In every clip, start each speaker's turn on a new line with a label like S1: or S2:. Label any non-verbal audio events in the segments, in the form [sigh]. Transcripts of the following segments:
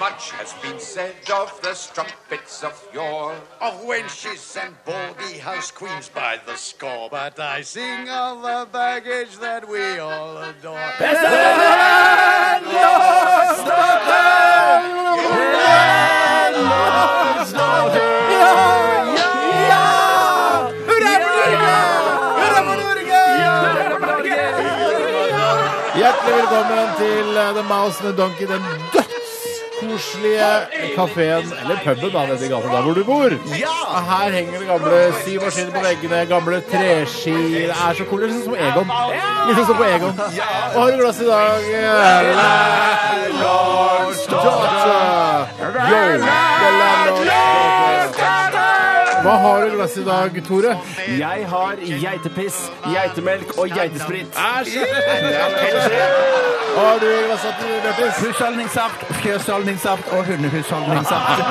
S1: Much has been said of the strumpets of yore,
S2: of wenches and baldy house queens by the score, but I sing of the baggage that we all adore.
S3: Hjertelig velkommen til eh, The Mouse and the Donkey, den dødskoselige kafeen, eller puben da, nede i gata der hvor du bor. Og Her henger det gamle symaskiner på veggene, gamle treski. Det er så cool, det er sånn som Egon. Litt sånn som på Egon. Og har du glass i dag? eh, Landlord's daughter. Yo, the landlord's daughter. Hva har du i glass i dag, Tore?
S4: Jeg har geitepiss, geitemelk og geitesprit.
S3: Æsj! Har du i glasset til Bjørtis?
S5: Husholdningssaft, fjøshaldningssaft og hundehusholdningssaft.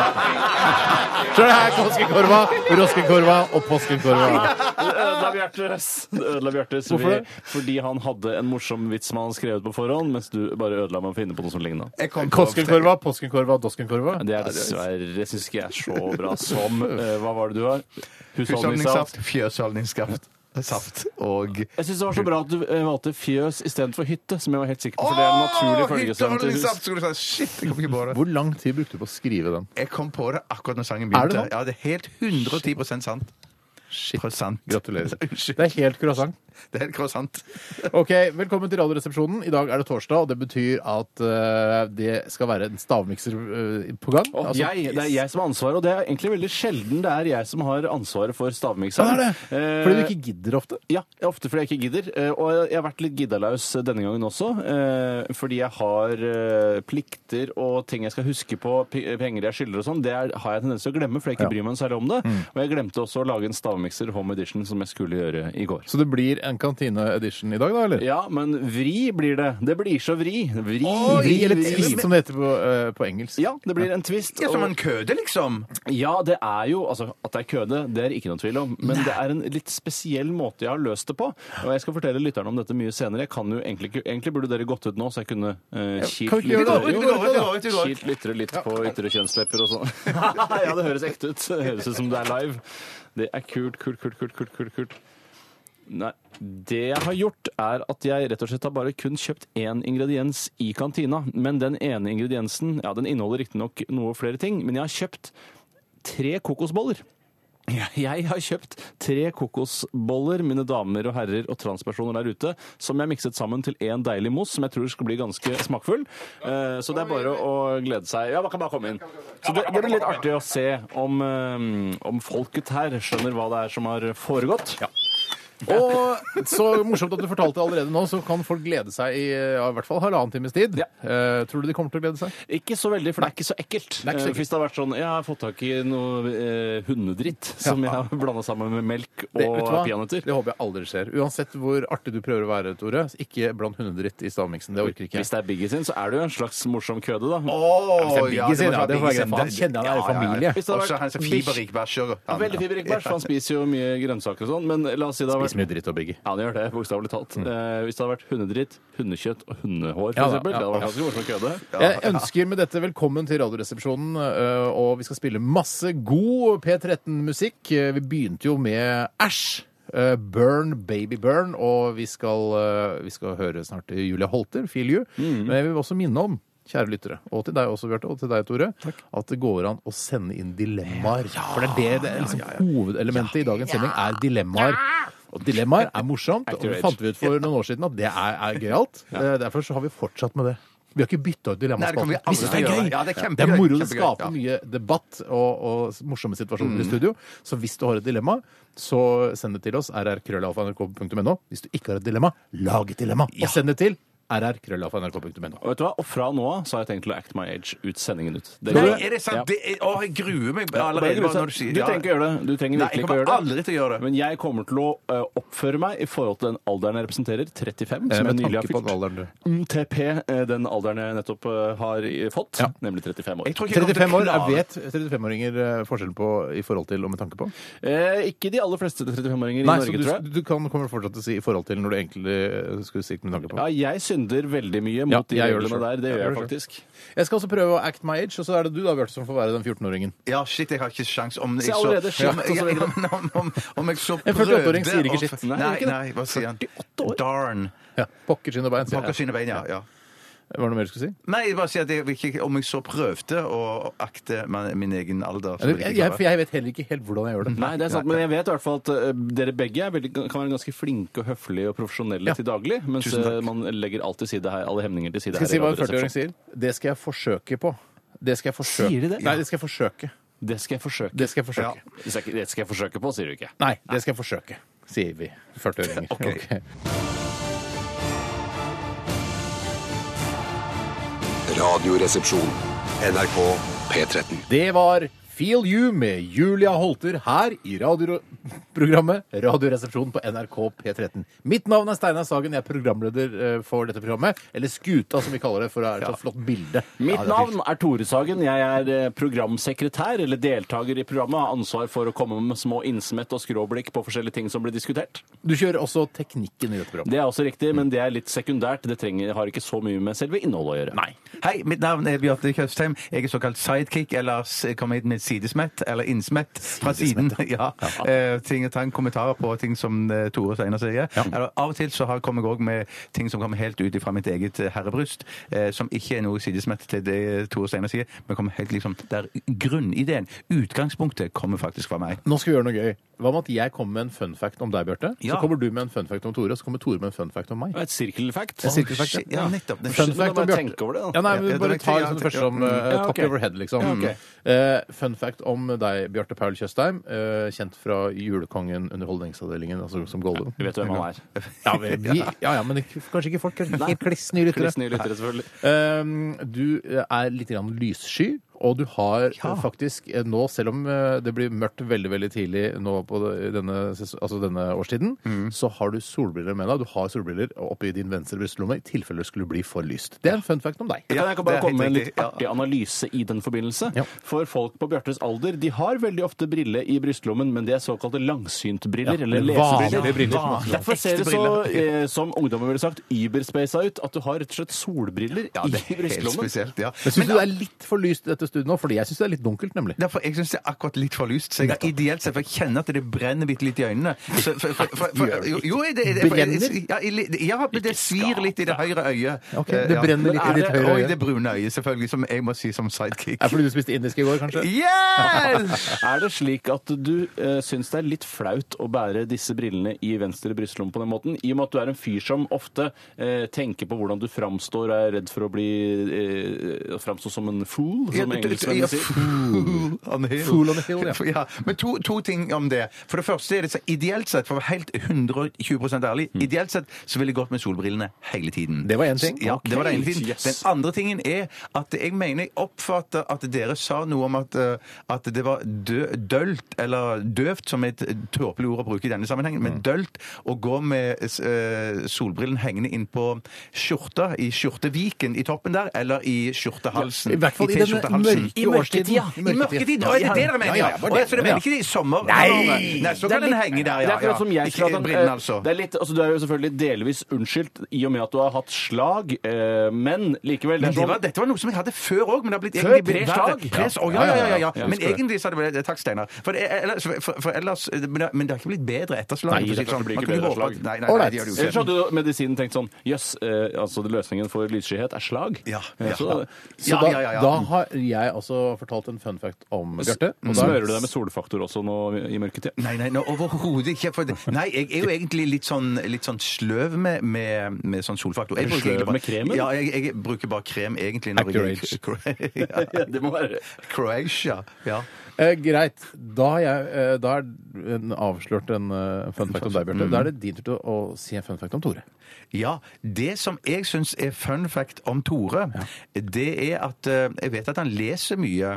S3: Så er det her påskekorva, roskekorva og påskekorva.
S4: [laughs] Ødela Bjartes. Det Ødela Bjartes.
S3: Hvorfor det?
S4: Vi- Fordi han hadde en morsom vits man hadde skrevet på forhånd, mens du bare ødela med å finne på noe som ligna.
S5: Jeg kom på-
S3: Koskenkorva, påskekorva og doskenkorva.
S4: Det er dessverre Jeg syns ikke jeg er så bra
S3: [laughs]
S4: som eh, Hva var det du har?
S5: Husholdningssaft,
S4: Husholdningssaft.
S5: fjøshaldningssaft saft og
S4: Jeg syns det var så bra at du eh, valgte fjøs istedenfor hytte, som jeg var helt sikker på, for det er en naturlig følgesang til
S5: Husholdningssaft,
S4: hus.
S5: skulle du si. Shit, jeg kom ikke på det.
S3: Hvor lang tid brukte du på å skrive den?
S5: Jeg kom på det akkurat når sangen
S3: Er det
S5: begynte.
S3: sant?
S5: Ja, det er helt 110 sant.
S3: Shit.
S5: Prosent.
S3: Gratulerer.
S5: [laughs] Unnskyld.
S3: Det er helt croissant.
S5: Det er helt croissant.
S3: Ok, Velkommen til Radioresepsjonen. I dag er det torsdag, og det betyr at eh, det skal være en stavmikser eh, på gang.
S4: Og
S3: Altså,
S4: jeg, det er jeg som har ansvaret, og det er egentlig veldig sjelden det er jeg som har ansvaret for
S3: Ja,
S4: stavmikseren.
S3: det er det.
S4: Eh,
S3: Fordi du ikke gidder ofte.
S4: Ja, ofte fordi jeg ikke gidder. Eh, Og jeg har vært litt giddalaus denne gangen også. eh, Fordi jeg har eh, plikter og ting jeg skal huske på, p- penger jeg skylder og sånn. Det er- har jeg tendens til å glemme, for jeg ikke bryr meg noe særlig om det.
S3: Mm.
S4: Og jeg glemte også å lage en stavmikser home edition som jeg skulle gjøre i går.
S3: Så det blir en kantine-edition i dag, da? eller?
S4: Ja, men vri blir det. Det blir så vri. Vri,
S3: Vri eller
S4: vri.
S3: tvist, som det heter på, eh, på engelsk.
S4: Ja, det blir en twist.
S5: Ja, som
S4: og-
S5: en køde, liksom.
S4: Ja, det er jo Altså, at det er køde, det er ikke noen tvil om. Men det er en litt spesiell måte jeg har løst det på. Og jeg skal fortelle lytterne om dette mye senere. Jeg kan jo egentlig ikke Egentlig burde dere gått ut nå, så jeg kunne eh,
S3: kan
S4: kilt
S3: vi ikke gjøre det?
S4: lyttere
S3: Jo,
S5: Vi går ut, vi går ut, vi går ut.
S4: kilt lyttere litt på ytre kjønnslepper og sånn. ja, det høres ekte ut. Det høres ut som det er live. Det er kult, kult, kult, kult, kult, kult. kult. Nei, det jeg har gjort er at jeg rett og slett har bare kun kjøpt én ingrediens i kantina. Men den ene ingrediensen ja, den inneholder riktignok noe flere ting. Men jeg har kjøpt tre kokosboller. Jeg har kjøpt tre kokosboller, mine damer og herrer og transpersoner der ute, som jeg mikset sammen til én deilig mousse som jeg tror skal bli ganske smakfull. Eh, Så det er bare å glede seg. Ja, man kan bare komme inn. Så det, det blir litt artig å se om, eh, om folket her skjønner hva det er som har foregått.
S3: Og så morsomt at du fortalte allerede nå, så kan folk glede seg i, ja, i hvert fall halvannen times tid.
S4: Ja.
S3: Eh, tror du de kommer til å glede seg?
S4: Ikke så veldig, for det er ikke så ekkelt.
S3: er ikke så
S4: Eh, Hvis det har vært sånn Jeg har fått tak i noe eh, hundedritt som jeg har blanda sammen med melk og
S3: vet du hva?
S4: peanøtter.
S3: Det håper jeg aldri skjer. Uansett hvor artig du prøver å være, Tore, ikke bland hundedritt i stavmiksen. Det orker ikke
S4: Hvis
S3: jeg.
S4: det er Biggie sin, så er det jo en slags morsom køde, da.
S5: Å,
S3: Biggie sin, ja, det får være greit, for han
S5: Det-
S3: kjenner han er i
S5: ja, ja, ja.
S3: familie.
S4: Hvis det hadde
S5: Også
S4: vært
S5: han som sånn fiberrik bæsjer.
S4: Han er Veldig fiberrik bæsj, for han spiser jo mye grønnsaker og sånn. Men la oss si det har vært
S3: Spis mye dritt og biggie.
S4: Ja, han gjør det, bokstavelig talt.
S5: Mm.
S4: Eh, hvis det hadde vært hundedritt, hundekjøtt og hundehår, for
S3: Ja, da,
S4: eksempel,
S3: ja.
S4: det hadde vært ganske morsom køde.
S3: Jeg ønsker med dette velkommen til Radioresepsjonen, eh, og vi skal spille masse god P13-musikk. Eh, Vi begynte jo med Æsj. eh, Burn, Baby Burn, og vi skal, eh, vi skal høre snart Julia Holter, Feel You. Men jeg vil også minne om, kjære lyttere, og til deg også, Bjarte, og til deg, Tore, at det går an å sende inn dilemmaer. For det er det, det er liksom hovedelementet i dagens sending, er dilemmaer. Og dilemmaer er morsomt, og det
S4: Activate.
S3: fant vi ut for noen år siden at det er, er gøyalt. Eh, Derfor så har vi fortsatt med det. Vi har ikke bytta ut
S5: Nei, det kommer
S3: dilemmaspalten.
S5: vi aldri
S3: Vi synes
S5: til å gjøre.
S3: gøy.
S5: Ja, det er
S3: det er
S5: kjempegøy,
S3: moro. Det
S5: kjempegøy,
S3: skaper
S5: ja. Mm.
S3: mye debatt og, og morsomme situasjoner i studio. Så hvis du har et dilemma, så send det til oss. rrkrøllalfa.nrk.no. Hvis du ikke har et dilemma, lag et dilemma og send det til rr.nrk.no.
S4: Og vet du hva? Og fra nå av så har jeg tenkt til å act my age ut sendingen ut. Det
S5: Nei,
S4: går.
S5: er det sant?
S4: Ja.
S5: Det er, å, jeg gruer meg
S4: Ja, bare
S5: allerede
S4: gruse.
S5: bare når du sier
S4: Du trenger ikke gjøre det. Du trenger
S5: Nei,
S4: virkelig ikke å
S5: jeg kommer
S4: gjøre det.
S5: aldri til å gjøre det.
S4: Men jeg kommer til å ø, oppføre meg i forhold til den alderen jeg representerer,
S5: Eh,
S4: 35, som jeg
S3: Med
S4: nylig har
S3: tanke på den
S4: fylt.
S3: alderen du
S4: MTP, ø, eh, den alderen jeg nettopp ø, har i- fått,
S3: Ja.
S4: nemlig 35 år.
S5: Jeg tror ikke jeg kommer til å
S3: 35 år, jeg
S5: klare-
S3: vet 35-åringer eh, forskjell på i forhold til og med tanke på.
S4: Eh, ikke de aller fleste 35-åringer i
S3: Nei, så
S4: Norge,
S3: du,
S4: tror jeg.
S3: du kan, kommer fortsatt til å si i forhold til når du egentlig eh, skulle si med tanke på.
S4: Ja, jeg synder veldig mye mot
S3: Ja,
S4: de
S3: jeg gjør det
S4: reglene
S3: selv.
S4: der. Det
S3: Jeg
S4: gjør jeg
S3: gjør det
S4: faktisk.
S3: Jeg skal også prøve å act my age, og så er det du da, Bjarte, som får være den 14-åringen.
S5: Ja, shit, jeg har ikke sjans om jeg
S4: Se, allerede
S5: så, om,
S4: shit, og så videre.
S5: ja, [laughs] om, om, om jeg så
S3: En 48-åring sier ikke
S5: å-
S3: shit.
S5: Nei,
S4: Nei,
S5: nei,
S4: ikke det.
S5: hva sier han?
S4: 48 år.
S5: Darn.
S3: Ja. Pokker skinn og bein. sier
S5: Pakker
S3: jeg.
S5: sine bein, ja. ja.
S3: Var det noe mer du skulle si?
S5: Nei, jeg bare sier at jeg, vil ikke- om jeg så prøvde å akte meg- min egen alder så
S3: Jeg,
S5: vil
S3: jeg,
S5: ikke klare.
S3: for jeg vet heller ikke helt hvordan jeg gjør det.
S4: Nei, det er sant, men jeg vet i hvert fall at ø, dere begge er veldig, kan være ganske flinke og høflige og profesjonelle
S3: Ja.
S4: til daglig, mens
S5: Tusen takk.
S4: ø, man legger alt til side her, alle hemninger til side
S3: Skal jeg
S4: her. i
S3: si hva en
S4: Radioresepsjonen.
S3: 40-åring sier? Det skal jeg forsøke på. Det skal jeg forsøke.
S4: Sier de det?
S3: Nei, det skal jeg forsøke.
S4: Det skal jeg forsøke.
S3: Det skal jeg forsøke.
S4: Det skal, det skal jeg forsøke på, sier du ikke.
S3: Nei, det skal jeg forsøke, sier vi 40-åringer.
S5: Ok.
S3: [laughs] Ok.
S6: Radioresepsjon. NRK P13.
S3: Det var Feel You med Julia Holter her i radioprogrammet Radioresepsjonen på NRK P13. Mitt navn er Steinar Sagen, jeg er programleder eh, for dette programmet. Eller Skuta, som vi kaller det, for det er et så flott bilde.
S4: Mitt
S3: Ja, det er
S4: navn er Tore Sagen. Jeg er eh, programsekretær, eller deltaker i programmet. Har ansvar for å komme med små innsmett og skråblikk på forskjellige ting som blir diskutert.
S3: fint. Du kjører også teknikken i dette programmet.
S4: Det er også
S3: Mm.
S4: riktig, men det er litt sekundært. Det trenger, har ikke så mye med selve innholdet å gjøre. Nei.
S5: Hei, mitt navn er Bjarte Tjøstheim. Jeg er såkalt sidekick, eller s- kom hit med sidesmett, eller innsmett fra siden. [laughs] Ja. Eh, ting og tang, kommentarer på ting som eh, Tore Steinar sier. Eller, av og til så har- kommer jeg òg med ting som kommer helt ut fra mitt eget eh, herrebryst, eh, som ikke er noe sidesmett til det eh, Tore Steinar sier, men kommer helt liksom der grunnideen, utgangspunktet, kommer faktisk fra meg.
S3: Nå skal vi gjøre noe gøy. Hva med at jeg kommer med en fun fact om deg, Bjarte?
S5: Ja.
S3: Så kommer du med en fun fact om Tore, og så kommer Tore med en fun fact om meg.
S4: Et cirkelfact.
S3: En sirkelfact,
S5: shit, ja, nettopp. Det-
S3: Fun
S4: Så da
S3: fact
S4: må
S3: om
S4: jeg
S3: Bjarte.
S4: tenke over det, da.
S3: Ja, nei, men
S5: Ja, det
S3: bare
S5: tenkte
S3: ta
S5: jeg,
S3: liksom det
S5: tenkte
S3: første om
S5: jeg.
S3: eh,
S4: Ja,
S3: top
S4: ok.
S3: of your head, liksom.
S4: Ja, ok.
S3: Eh, fun fact om deg, Bjarte Paul Tjøstheim, eh, kjent fra Julekongen Underholdningsavdelingen, altså som Goldum.
S4: Vi [laughs] vet hvem han er.
S3: Ja, vi- vi- ja, ja, men det, kanskje ikke folk. Helt kliss nye lyttere.
S4: Kliss nye lyttere, selvfølgelig.
S3: Eh, du er litt grann lyssky, og du har
S5: Ja.
S3: eh, faktisk eh, nå, selv om eh, det blir mørkt veldig veldig tidlig nå på denne, ses- altså denne årstiden, så har du solbriller med deg. Du har solbriller oppi din venstre brystlomme i tilfelle det skulle bli for lyst. Det er en fun fact om deg.
S5: Ja,
S4: kan jeg
S5: det
S4: bare
S5: er
S4: komme med en
S5: helt
S4: litt
S5: riktig, ja.
S4: artig analyse i den forbindelse?
S3: Ja.
S4: For folk på Bjartes alder de har veldig ofte brille i brystlommen, men det er såkalte langsyntbriller,
S3: Ja,
S4: eller
S3: vanlige
S4: lesebriller.
S3: briller.
S4: Ja, Derfor ser det så, eh, som ungdommen ville sagt, überspaisa ut, at du har rett og slett solbriller i
S5: Helt
S4: brystlommen.
S5: spesielt, ja.
S3: Men syns du det er litt for lyst i dette studiet nå? Fordi jeg syns det er litt dunkelt, nemlig.
S5: Derfor, Jeg syns det er akkurat litt for lyst. Så jeg har ideelt sett, for jeg kjenner at det brenner bitte litt i øynene. Så, for, for, for, for, jo, jo, det, det, for,
S3: Brenner?
S5: Ja, i li- ja, men det svir litt i det høyre øyet.
S3: Ok, det brenner litt i ditt høyre
S5: Og
S3: øye.
S5: i det brune øyet, selvfølgelig, som jeg må si som sidekick.
S3: Er det fordi du spiste indisk i går, kanskje?
S5: Yes!
S4: Er det slik at du eh, syns det er litt flaut å bære disse brillene i venstre brystlomme på den måten, i og med at du er en fyr som ofte eh, tenker på hvordan du framstår, er redd for å bli eh, framstå som en fool, som engelskmennene sier? [laughs]
S5: Fool on the hill.
S3: Fool on the hill, ja.
S5: ja. Men to, to ting om det. For det første er det så ideelt sett, for å være helt 120 ærlig,
S4: Mm.
S5: ideelt sett så ville jeg gått med solbrillene hele tiden.
S3: Det var en ting.
S5: Ja, det var den ene
S4: Ok,
S5: tingen.
S4: yes.
S5: Den andre tingen er at jeg mener jeg oppfatter at dere sa noe om at, eh, at det var dø, dølt, eller døvt, som er et tåpelig ord å bruke i denne sammenhengen,
S4: Mm.
S5: men dølt å gå med eh, solbrillen hengende inn på skjorta, i skjorteviken i toppen der, eller i skjortehalsen.
S3: I hvert fall i denne
S5: T-skjortehalsen.
S3: mørke
S4: I mørketida.
S3: årstiden.
S5: I mørketiden? Å, er det det dere mener?
S3: Ja,
S5: Ja,
S3: ja,
S5: Å,
S3: bare
S5: så det
S3: det,
S5: mener ikke det i sommer?
S3: Nei!
S5: Nei, så kan den henge der,
S4: det
S5: ja.
S4: er akkurat
S5: ja.
S4: som jeg
S5: Ikke
S4: skulle hatt en-
S5: brillen,
S4: eh,
S5: altså.
S4: Det er litt, altså. Du er jo selvfølgelig delvis unnskyldt i og med at du har hatt slag, eh, men likevel det er
S5: Men det
S4: sånn-
S5: var, dette var noe som jeg hadde før òg, men det har blitt
S4: Før
S5: egentlig
S4: tre
S5: blitt
S4: slag?
S5: verre. Tre slag, ja, ja, ja, ja,
S4: Ja,
S5: ja. Men
S4: husker det.
S5: egentlig så hadde det blitt Takk, Steinar. For, det- ellers- for, for ellers Men det, men det har ikke blitt bedre etter slag.
S4: Nei,
S5: for å si
S4: det blir
S5: sånn. Man
S4: ikke
S5: kunne
S4: bedre
S5: håpe
S4: slag.
S5: at- Nei, nei, nei,
S3: Alright.
S5: det gjør det
S4: Ellers
S5: jo ikke.
S4: hadde jo medisinen tenkt sånn Jøss, eh, altså løsningen for lysskyhet er slag.
S5: Ja,
S4: Eh,
S5: ja.
S4: Så,
S3: Så
S5: Ja,
S3: da,
S5: ja, ja, ja.
S3: da har jeg altså fortalt en fun fact om Bjarte. og da-
S4: mm. smører du deg med solfaktor også nå i mørketid.
S5: Nei, nei, nei overhodet ikke. For det, nei, jeg er jo egentlig litt sånn, litt sånn sløv med, med, med sånn solfaktor. Jeg
S4: Er du
S5: bruker egentlig
S4: sløv
S5: bare-
S4: med kremen?
S5: Ja, jeg, jeg bruker bare krem egentlig. når jeg-
S4: [laughs]
S3: Accurage.
S5: Cro- [laughs] ja.
S4: Det må være
S5: Croatia. Ja.
S3: Eh, greit. Da, er jeg, eh, da er en avslørt en eh, fun fact om deg, Bjarte. Da er det din tur til å si en fun fact om Tore.
S5: Ja, det som jeg syns er fun fact om Tore, det er at eh, Jeg vet at han leser mye,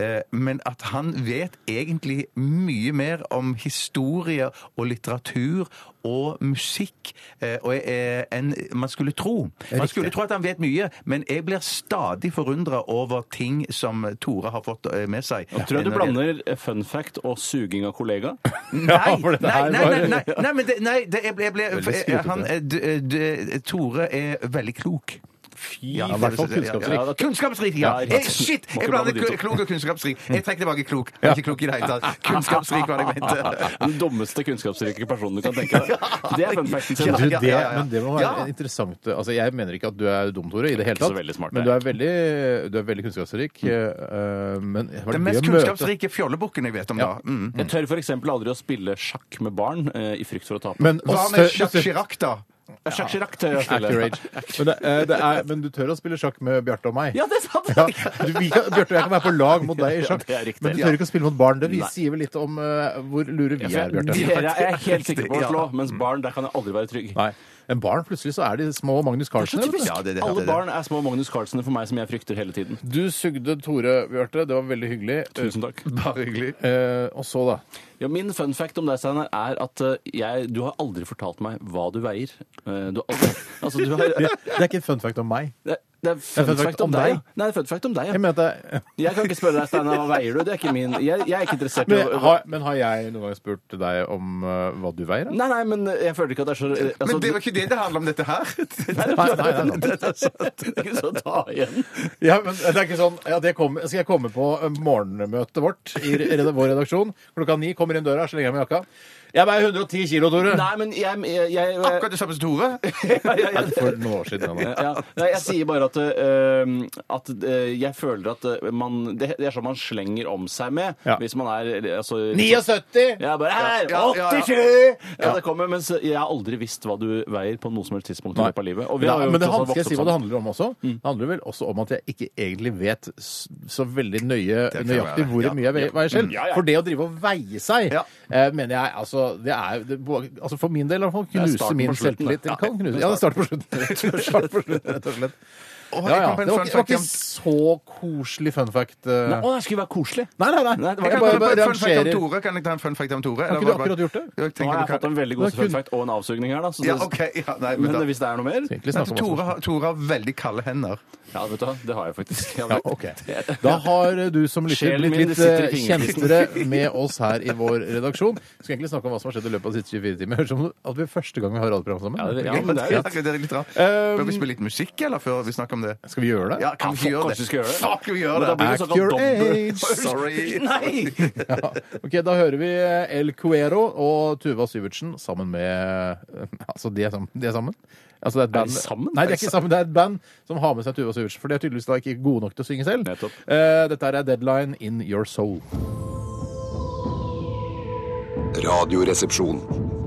S5: eh, men at han vet egentlig mye mer om historie og litteratur og musikk eh, og, eh, enn man skulle tro. Man skulle tro at han vet mye, men jeg blir stadig forundra over ting som Tore har fått eh, med seg.
S4: Tror jeg du
S5: Når det-
S4: blander eh, fun fact og suging av kollega?
S5: Nei,
S3: for dette
S5: nei,
S3: her
S5: nei,
S3: var-
S5: nei, nei, nei, men det, nei det, jeg ble, jeg ble
S3: Veldig
S5: jeg-
S3: skrytete.
S5: han, eh, d, d, Tore er veldig klok.
S4: Fy
S5: Ja,
S3: i hvert fall kunnskapsrik.
S5: Ja, ja, kunnskapsrik, ja.
S4: Ja,
S5: Eh,
S4: riktig.
S5: shit!
S4: Må
S5: Jeg
S4: ikke blande
S5: blander
S4: de to.
S5: kl- klok og kunnskapsrik. Jeg trekker tilbake klok. Jeg er ikke klok i det hele
S3: [laughs]
S5: tatt. Kunnskapsrik var det jeg mente.
S4: Den dummeste kunnskapsrike personen du kan
S5: [laughs]
S4: tenke deg. Det er fun facten sin.
S3: Men du,
S5: ja,
S3: det,
S5: ja, ja.
S3: men det må være
S5: Ja.
S3: en interessant altså Jeg mener ikke at du er dum, Tore, i det hele
S4: Ikke så
S3: tatt.
S4: veldig smart,
S3: men
S4: nei. Mm.
S3: du er veldig, du er veldig kunnskapsrik. eh, men det var
S5: Den
S3: gøy
S5: mest
S3: å møte-
S5: kunnskapsrike fjollebukken jeg vet om, da. Mm.
S4: Jeg tør f.eks. aldri å spille sjakk med barn eh, i frykt for å tape.
S3: Men,
S5: Hva
S3: og
S5: med
S3: stø-
S5: Jacques Chirac, da?
S4: Ja, Sjakk Chirac tør jeg å spille.
S3: Accurate. Men, det, eh, det er, men du tør å spille sjakk med Bjarte og meg?
S4: Ja, det er sant!
S3: Ja, du, vi kan, Bjarte og jeg kan være på lag mot deg i sjakk,
S4: [laughs] Ja, det er riktig.
S3: men du tør ikke å spille mot barn. Det vi
S4: Nei.
S3: sier vel litt om eh, hvor lure vi er, Bjarte.
S4: Dere er jeg helt sikker på å slå, mens barn, der kan jeg aldri være trygg.
S3: Nei. En barn, plutselig så er de små Magnus Carlsen. vet du.
S5: Ja, det er det, det
S4: Alle
S5: er det.
S4: barn er små Magnus Carlsen for meg, som jeg frykter hele tiden.
S3: Du sugde Tore, Bjarte. Det var veldig hyggelig.
S4: Tusen takk.
S5: Bare hyggelig.
S3: Eh, og så, da?
S4: Ja, min fun fact om deg, Steinar, er at eh, jeg, du har aldri fortalt meg hva du veier. Eh, Du har aldri, altså, du har,
S3: Det, det er ikke en fun fact om meg.
S4: det, det er fun fact om deg. ja. Nei, det er fun fact om deg,
S3: Jeg
S4: ja.
S3: mener at det er
S4: Jeg kan ikke spørre deg, Steinar, hva veier du? Det er ikke min. Jeg, jeg er ikke
S3: [laughs]
S4: interessert i
S3: Men
S4: å
S3: har, men har jeg noen gang spurt deg om eh, hva du veier? da?
S4: Nei, nei, men jeg føler ikke at det er så eh, altså,
S5: Men det var ikke det det handla om, dette
S3: [laughs]
S5: her.
S3: Nei, nei, nei, nei.
S4: [laughs] Det er ikke så å ta igjen.
S3: Ja, men det er ikke sånn ja, det kommer- Skal jeg komme på eh, morgenmøtet vårt i red- vår redaksjon? Klokka ni kommer inn døra, slenger jeg med jakka. Jeg veier 110 kilo, Tore!
S4: Nei, men jeg, jeg, jeg, eh, jeg,
S5: Akkurat det samme som Tore.
S3: Ja, For noen år siden. da.
S4: ja. Nei, jeg sier bare at, eh, at eh, jeg føler at eh, man Det det er sånn man slenger om seg med
S3: Ja.
S4: hvis man er eh, altså,
S3: 79!
S4: Ja, bare her!
S5: Ja, ja, ja.
S4: 87! Ja, det kommer, mens jeg har aldri visst hva du veier på noe som helst tidspunkt i
S3: Nei.
S4: løpet av livet. Og vi
S3: Men,
S4: har
S3: det-
S4: jo
S3: men det,
S4: tross alt
S3: han- skal jeg
S4: vokst
S3: si
S4: opp sånn.
S3: hva det
S4: sammen.
S3: handler om også? Det handler vel også om at jeg ikke egentlig vet s- så veldig nøye,
S5: kan
S3: nøyaktig
S5: være,
S3: hvor
S5: ja.
S3: mye jeg veier- veier selv.
S4: Ja, ja.
S3: For det å drive og veie seg,
S5: Ja.
S3: eh, mener jeg altså, det er, det, altså For min del i hvert fall
S4: er
S3: knuse
S4: starten
S3: min
S4: på slutten,
S3: selvtillit.
S4: da.
S3: Ja, kan knuse. ja, det starter på slutten. Start på slutten, rett og slett.
S5: Å,
S3: Ja, ja.
S5: jeg kom på en
S3: Det var,
S5: fun
S3: ikke- det var
S5: fact
S3: ikke
S5: om-
S3: så koselig fun fact. eh.
S4: Nei, Å, det skulle være koselig.
S3: Nei, nei, nei. Jeg
S4: Nei, det var ikke
S3: bare,
S5: Kan jeg
S3: bare
S5: ta en fun fact om
S3: rangerer.
S5: Tore? Kan jeg ta en fun fact om Tore?
S3: ikke du akkurat gjort det?
S4: Nå har jeg fått en veldig god
S3: Det er kun-
S4: fun fact og en avsugning her, da. Så
S5: Ja,
S4: det-
S5: OK. Ja, nei, men
S4: Men
S5: da.
S4: hvis det er noe mer
S3: Egentlig sånn
S5: Nei,
S3: snakket om
S5: Tore
S3: oss.
S5: har, Tore har veldig kalde hender.
S4: Ja, vet du hva, det har jeg faktisk. Jeg
S3: Ja,
S4: vet.
S3: ok. Da har du som lytter blitt
S4: Sjelen min,
S3: litt
S4: det sitter i
S3: eh,
S4: fingerspissen.
S3: kjentere med oss her i vår redaksjon. Vi skal egentlig snakke om hva som har skjedd i løpet av de siste 24 timer. Høres ut som at vi er første gang vi har radioprogram sammen.
S4: Ja, det- ja, men det er
S5: Ja,
S4: jo
S5: det er litt rart.
S3: Um,
S5: Bør vi spille litt musikk, eller, før vi snakker om det?
S3: Skal vi gjøre det?
S5: Ja, kan vi ikke
S4: fuck,
S5: gjøre det?
S4: kanskje vi skal gjøre det.
S5: Fuck, vi gjør
S4: Men da
S5: det!
S4: blir det
S3: Act
S4: såkalt
S3: your
S4: dobbelt-
S3: age! [laughs]
S5: Sorry!
S4: Nei!
S3: Ja. Ok, da hører vi eh, El Cuero og Tuva Syvertsen sammen med Altså, de er sammen. De er sammen. Altså, det er et
S4: Er de
S3: band
S4: sammen?
S3: Nei, de er ikke sammen. Det er et band som har med seg Tuva Syvertsen, for de er tydeligvis da ikke gode nok til å synge selv.
S4: Nettopp.
S3: Eh, dette er Deadline in Your Soul.
S6: Radioresepsjon.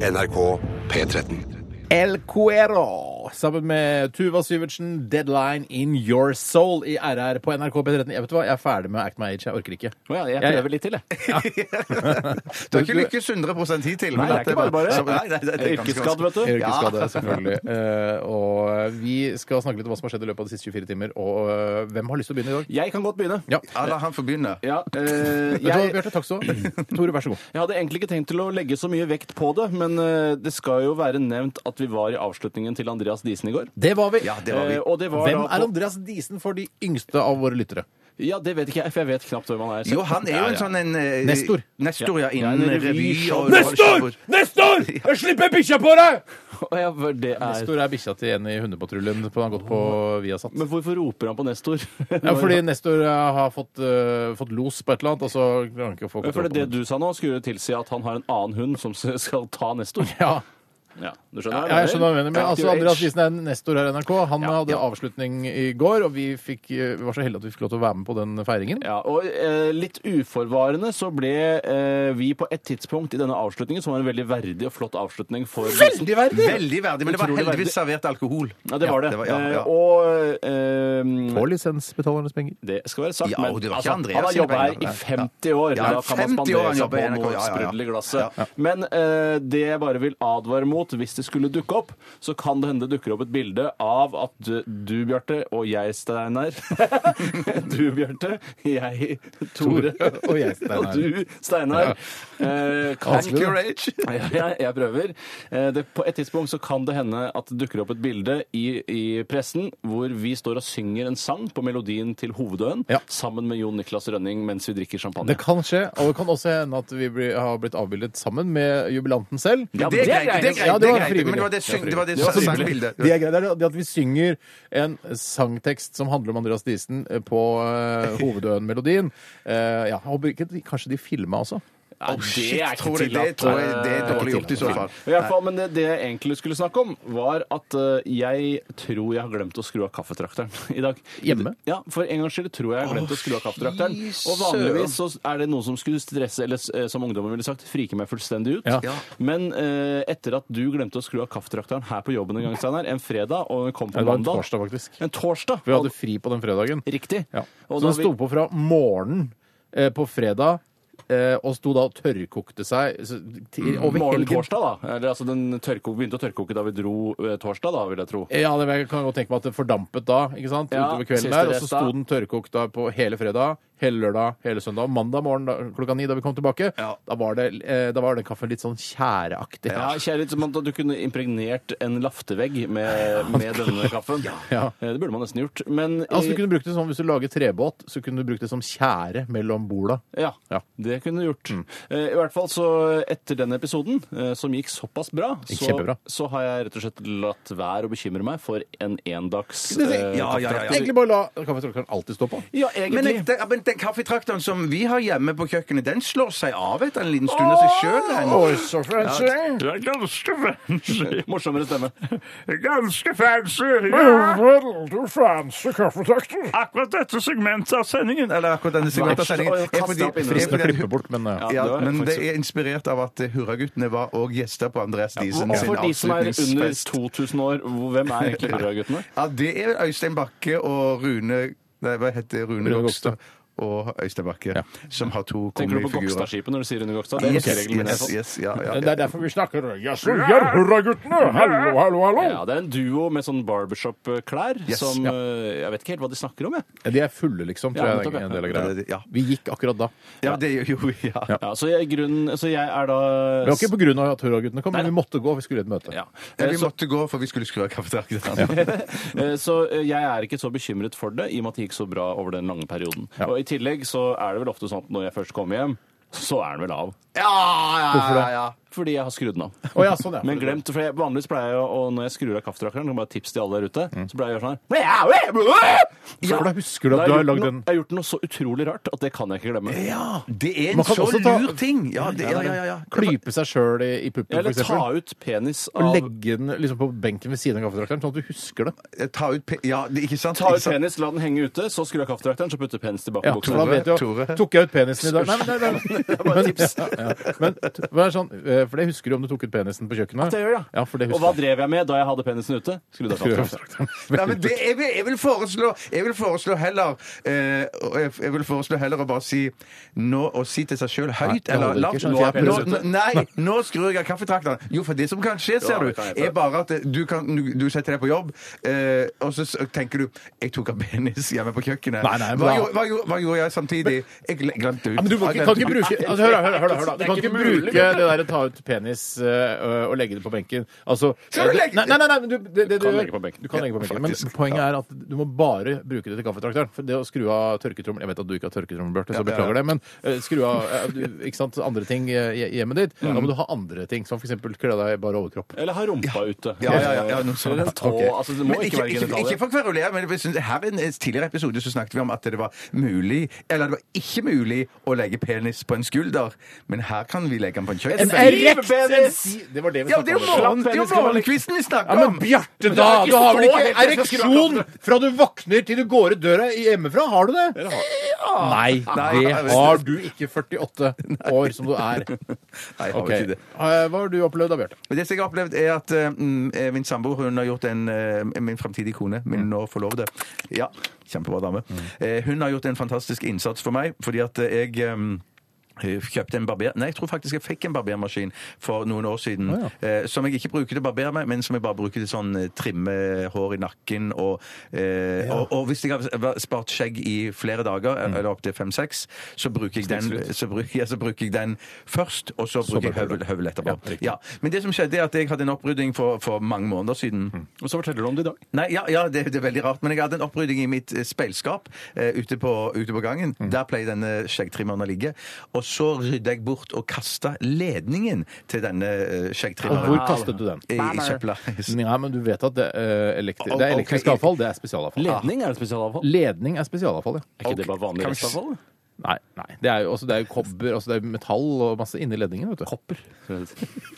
S6: NRK P13.
S3: El Cuero sammen med Tuva Syvertsen, 'Deadline in Your Soul' i RR på NRK P13. Jeg vet du hva, jeg er ferdig med å act my age. Jeg orker ikke.
S4: Å ja, jeg
S3: Ja, ja.
S4: prøver litt til, jeg.
S5: Du har ikke lykkes 100 hittil.
S4: Nei,
S5: men
S4: det er
S5: dette
S4: ikke bare bare.
S5: Så- nei, nei, det er ganske
S4: Yrkesskadd,
S5: vanskelig.
S4: vet du.
S3: Jeg orker ikke skade, selvfølgelig. Eh, og vi skal snakke litt om hva som har skjedd i løpet av de siste 24 timer. Og eh, hvem har lyst til å begynne i dag?
S4: Jeg kan godt begynne.
S3: Ja.
S5: Ja, la han få begynne.
S4: Ja, eh,
S3: Vet du hva,
S4: jeg,
S3: Bjarte, takk skal du ha. Tore, vær så god.
S4: Jeg hadde egentlig ikke tenkt til å legge så mye vekt på det, men eh, det skal jo være nevnt at vi var i avslutningen til Andreas Diesen i går.
S3: Det var vi.
S5: Ja, det var vi.
S4: Eh, og det var
S3: Hvem
S4: da
S3: er
S4: på,
S3: Andreas Disen for de yngste av våre lyttere?
S4: Ja, det vet ikke jeg, for jeg vet knapt hvem han er. selv.
S5: Jo, han er jo en sånn en eh,
S3: Nestor.
S5: Nestor, ja.
S4: Ja,
S5: Innen
S4: en
S5: revy
S4: revyshow.
S5: og
S3: Nestor! Jeg slipper bikkja på deg!
S4: Å, [laughs] ja, for det er...
S3: Nestor er bikkja til en i Hundepatruljen på han har gått på Viasat.
S4: Men hvorfor roper han på Nestor?
S3: Ja, fordi Nestor eh, har fått, eh, fått los på et eller annet, og så klarer han ikke å få
S4: Ja, [laughs] for
S3: kontroll
S4: det, det
S3: på det.
S4: du sa nå, skulle tilsi at han har en annen hund som s- skal ta Nestor.
S3: Ja.
S4: Ja, du skjønner
S3: Ja,
S4: hva
S3: jeg skjønner hva du mener, men
S4: Ja.
S3: altså, Andreas Wiesen er nestor her i NRK. Han
S4: Ja,
S3: hadde
S4: ja.
S3: avslutning i går, og vi, fikk, eh, var så heldige at vi fikk lov til å være med på den feiringen.
S4: Ja, og eh, Litt uforvarende så ble eh, vi på et tidspunkt i denne avslutningen, som var en veldig verdig og flott avslutning for Veldig verdig!
S5: Veldig verdig, men det var
S4: Utrolig verdig.
S5: heldigvis servert alkohol.
S4: Ja, det var det.
S5: Ja, det var- ja, ja.
S4: Eh, og eh,
S3: På lisensbetalernes penger.
S4: Det skal være sagt,
S5: Ja,
S4: men
S5: og det var ikke
S4: altså,
S5: Andreas
S4: han har
S5: sine
S4: jobba her
S5: penger,
S4: i
S5: nei.
S4: 50 år.
S5: Ja,
S4: da kan man
S5: 50 år
S4: spandere
S5: han
S4: seg
S5: jobber
S4: på
S5: i NRK,
S4: noe
S5: ja, ja, ja.
S4: sprudel i glasset. Men eh, det jeg bare vil advare mot, hvis det skulle dukke opp, så kan det hende det dukker opp et bilde av at du, du Bjarte, og jeg, Steinar [laughs] Du, Bjarte, jeg, Tore,
S3: og jeg, Steinar.
S4: [laughs] og du, Steinar. eh, kan
S3: Vanskelig, da.
S4: [laughs] ja, jeg, jeg prøver. Eh, Det, på et tidspunkt så kan det hende at det dukker opp et bilde i, i pressen hvor vi står og synger en sang på melodien til Hovedøen
S3: Ja.
S4: sammen med Jon Niklas Rønning mens vi drikker champagne.
S3: Det kan skje, og det kan også hende at vi blir, har blitt avbildet sammen med jubilanten selv.
S4: Ja,
S5: Det er greit, det er greit,
S3: Ja, det
S5: det
S3: var
S5: er greit, men det
S3: frivillig.
S5: var det, syng, det, var det,
S3: Det er også
S5: særlige
S3: merkelig.
S5: bildet.
S3: Det er greit. Det er det at vi synger en sangtekst som handler om Andreas Diesen eh, på uh, Hovedøen-melodien. Eh, ja, jeg håper ikke de, kanskje de filma også.
S4: Ja, det er ikke
S5: tror jeg-
S4: tillatt.
S5: det tror jeg- det er dårlig
S4: Eh,
S5: gjort i så fall.
S4: I hvert fall, men det, det jeg egentlig skulle snakke om, var at eh, jeg tror jeg har glemt å skru av kaffetrakteren [laughs] i dag.
S3: Hjemme?
S4: Ja, for en gangs skyld tror jeg jeg har glemt å skru av kaffetrakteren. Og vanligvis så er det noe som skulle stresse, eller eh, som ungdommen ville sagt, frike meg fullstendig ut.
S3: Ja.
S4: Men eh, etter at du glemte å skru av kaffetrakteren her på jobben en gang, Steinar, en fredag, og den kom på
S3: Det var en
S4: mandag
S3: torsdag, faktisk.
S4: En torsdag.
S3: Vi hadde fri på den fredagen.
S4: Riktig.
S3: Ja.
S4: Og
S3: Så
S4: da
S3: den
S4: vi-
S3: sto på fra morgenen eh, på fredag, eh, og sto da og tørrkokte seg så, til, over
S4: Morgen
S3: helgen.
S4: torsdag, da. Eller altså, den tørko, begynte å tørrkoke da vi dro eh, torsdag, da, vil jeg tro.
S3: Ja, det jeg kan godt tenke meg at det fordampet da, ikke sant?
S4: Ja,
S3: utover kvelden
S4: siste
S3: der, og så
S4: rest
S3: sto
S4: da.
S3: den tørrkokt da på hele fredag, hele lørdag, hele søndag. Mandag morgen da, klokka ni da vi kom tilbake, da, var det, eh, da var den kaffen litt sånn tjæreaktig.
S4: Ja, kjære, som at du kunne impregnert en laftevegg med, med denne kaffen.
S3: Ja.
S4: Eh, Det burde man nesten gjort. Men
S3: Altså,
S4: eh,
S3: du kunne brukt det som, Hvis du lager trebåt, så kunne du brukt det som tjære mellom borda.
S4: ja,
S3: Ja.
S4: det kunne du gjort. Eh, I hvert fall så etter den episoden, eh, som gikk såpass bra,
S3: Gikk
S4: så,
S3: kjempebra.
S4: så har jeg rett og slett latt være å bekymre meg for en endags
S3: Det- det-
S4: eh,
S5: Ja, ja, ja, ja.
S3: Egentlig bare la kaffetrakteren alltid stå på.
S4: ja,
S5: Men,
S4: egentlig.
S5: jeg, den, men den kaffetrakteren som vi har hjemme på kjøkkenet, den slår seg av etter en liten stund av seg sjøl.
S3: Oi, så fancy!
S5: Det er ganske fancy.
S4: [laughs] Morsommere stemme.
S5: Ganske fancy.
S3: Veldig fancy kaffetrakter.
S5: Akkurat dette segmentet av sendingen Eller akkurat denne segmentet av sendingen
S4: Å,
S5: er
S4: kast
S5: fordi,
S4: det opp i den.
S5: er
S3: Jeg skal
S5: fordi
S3: klippe bort, men eh,
S5: ja,
S4: det var
S5: men det
S4: faktisk-
S5: er inspirert av at eh, Hurraguttene var òg gjester på Andreas Diesen
S4: Og
S5: sin
S4: for de som er under
S5: avslutningsfest.
S4: 2000 år, hvor- hvem er egentlig Hurra-guttene?
S5: Ja, det er Øystein Bakke og Rune Nei, hva heter det? Rune
S3: Rune
S5: Gokstad og Øystein Bakke, som har to
S4: Tenker du på
S5: kongefigurer.
S4: Gokstadskipet når du sier Rune Gokstad? Det er
S5: Yes,
S4: ikke regelen min. i hvert
S5: yes,
S4: fall.
S5: yes, ja, ja,
S3: det
S5: ja.
S3: er derfor vi snakker Jaså, vi er hurraguttene! Hallo, hallo, hallo!
S4: Ja, det er en duo med sånn barbershop-klær
S5: Yes,
S4: som
S3: ja.
S4: eh, Jeg vet ikke helt hva de snakker om, jeg.
S3: De er fulle, liksom, tror
S4: Ja,
S3: jeg
S4: nettopp,
S3: er
S4: ja.
S3: en del av
S5: Ja,
S3: greia.
S5: det- ja.
S3: Vi gikk akkurat da.
S5: ja, det gjør jo ja.
S4: Ja, så, jeg, i grunnen, så jeg er da
S3: Det var ikke på grunn av at Hurraguttene kom, men vi måtte gå. Vi skulle i et møte.
S4: ja.
S5: Ja,
S4: Eh,
S5: Vi
S4: så,
S5: måtte gå, for vi skulle skru av kaffetrakteren.
S4: [laughs] eh, så eh, jeg er ikke så bekymret for det, i og med at det gikk så bra over den lange perioden.
S3: Ja.
S4: Og i tillegg så er det vel ofte sånn at når jeg først kommer hjem, så er den vel av.
S3: Hvorfor det?
S4: Fordi jeg har skrudd den av.
S3: Å, ja, sånn, ja.
S4: [laughs] Men glemt, for jeg, vanligvis pleier jeg å, og når jeg skrur av kaffetrakteren, kan jeg bare tips til alle der ute,
S3: Mm.
S4: så pleier jeg å gjøre sånn her.
S3: Ja, for da husker du at
S4: Da
S3: du har
S4: jeg gjort
S3: lagd
S4: noe-
S3: en
S4: Jeg har gjort noe så utrolig rart at det kan jeg ikke glemme.
S5: Ja, det er en
S3: Man kan
S5: så
S3: også ta-
S5: lur ting! Ja, det, ja, ja, ja, ja.
S3: Klype seg sjøl i, i puppen, for
S4: Eller ta
S3: eksempel.
S4: ut penis
S3: Og
S4: av
S3: legge den liksom på benken ved siden av kaffetrakteren, sånn at du husker det.
S5: Ta ut pe... Ja, det, ikke sant?
S4: Ta
S5: Ikke
S4: ut
S5: sant?
S4: penis, la den henge ute, så skrur jeg kaffetrakteren, så putter jeg penis tilbake
S3: Ja,
S4: i
S3: for da
S4: buksa.
S3: vet du,
S5: Tore.
S3: Tok jeg ut penisen i dag? Nei, nei, nei. nei. Men,
S4: tips.
S3: [laughs] ja, ja. men t- vær sånn, eh, for det husker du om du tok ut penisen på kjøkkenet.
S4: Det gjør jeg.
S3: Ja, for det
S4: Og hva
S3: husker du.
S4: drev jeg med da jeg hadde penisen ute? Skru deg
S3: Skru av
S4: kaffetrakteren.
S3: kaffetrakteren.
S5: Nei, men det, jeg, vil, jeg, vil foreslå, jeg vil foreslå heller eh, og jeg, jeg vil foreslå heller å bare si nå, å si til seg sjøl høyt
S3: det
S5: eller
S3: holder
S5: lavt
S3: ikke,
S5: nå,
S3: skjønner du,
S5: nå,
S3: for jeg er
S5: Nei, nå skrur jeg av kaffetrakteren. Jo, for det som kan skje, ser
S4: det
S5: du,
S4: kan jeg
S5: er bare at eh, du, kan, du, du setter deg på jobb, eh, og så s- tenker du 'Jeg tok av penis hjemme på kjøkkenet'.
S3: Nei, nei,
S5: hva,
S3: bra.
S5: gjorde- hva, gjorde- hva gjorde jeg samtidig? Jeg gle- glemte ut.
S3: Ja, men du må ikke, kan ikke bruke altså, Hør, da, hør, da, hør, da, hør, da. Du
S4: Det er
S3: kan
S4: ikke
S3: ikke
S4: mulig,
S3: bruke det derre ta ut penis øh, og legge det på benken. Altså
S5: Skal du
S3: det-
S5: legge-
S3: Nei, nei, nei, nei men du, det, det, du,
S4: Kan
S3: gjør-
S4: legge på benken.
S3: Du kan legge på benken. Men
S5: faktisk.
S3: poenget er at du må bare bruke det til kaffetrakteren. For det å skru av tørketrommel Jeg vet at du ikke har tørketrommel, Bjarte, så beklager det, men øh, skru av øh, du, ikke sant, andre ting øh, i hjemmet ditt. Da må du ha andre ting, som f.eks. kle deg i bare overkropp.
S4: Eller ha rumpa ute.
S5: Ja, ja, ja, ja, noe sånt. [laughs]
S4: Eller en tå.
S3: Ok.
S4: Altså, det må
S5: Men
S4: ikke, være
S5: ikke,
S4: genitalier.
S5: ikke for å kverulere, men jeg synes, her i en tidligere episode så snakket vi om at det var mulig, eller det var ikke mulig, å legge penis på en skulder. Men her kan vi legge den på en kjøkken.
S3: En elg!
S4: Direktpenis!
S3: Si- Det var det vi
S5: Ja, det er
S3: snakket
S5: jo
S3: om.
S4: morgen.
S5: morgen- det er jo morgenkvisten vi snakker
S3: Ja,
S5: om!
S3: men Bjarte, da!
S4: det er ikke
S3: Du har vel
S4: så
S3: ikke
S4: heftig, jeg skal
S3: ereksjon fra du våkner til du går ut døra hjemmefra? Har du det? Nei, det har du ikke 48 år som du er.
S5: Nei, jeg har
S3: Ok.
S5: ikke det.
S3: Eh, Hva har du opplevd da, Bjarte?
S5: Men det som jeg har opplevd, er at eh, mm, eh, min samboer hun har gjort en eh, Min fremtidige kone, min nå forlovede Ja, kjempebra dame. Eh, hun har gjort en fantastisk innsats for meg, fordi at eh, jeg em, eh, kjøpte en barber... Nei, jeg tror faktisk jeg fikk en barbermaskin for noen år siden. eh, som jeg ikke bruker til å barbere meg, men som jeg bare bruker til sånn eh, trimme hår i nakken. Og, eh, og, og hvis jeg har vært- spart skjegg i flere dager, eller opptil fem-seks, så, bruker jeg den- så, bruker- ja, så bruker jeg den først, og så bruker jeg høvel, høvel etterpå. Ja, men det som skjedde er at jeg hadde en opprydding for, for mange måneder siden.
S4: Og så forteller du om det i dag.
S5: Nei, ja, ja det, det er veldig rart, men jeg hadde en opprydding i mitt eh, speilskap eh, ute, på, ute på gangen.
S3: Mm.
S5: Der pleier denne skjeggtrimmeren å ligge. Og så rydda jeg bort og kasta ledningen til denne eh,
S3: Og hvor
S5: skjeggtrimmeren.
S3: kastet du den?
S5: I, I søpla.
S3: Nei, men du vet at det, eh, elektri
S5: Ok.
S3: det er elektrisk avfall, det er spesialavfall.
S4: Ledning er det spesialavfall.
S3: Ledning er spesialavfall, ja.
S4: Er ikke det bare vanlig
S5: Kanskje-
S4: restavfall?
S3: Nei, nei. Det er jo, altså, det er jo kobber, altså, det er metall og masse inni ledningen, vet du. Kopper.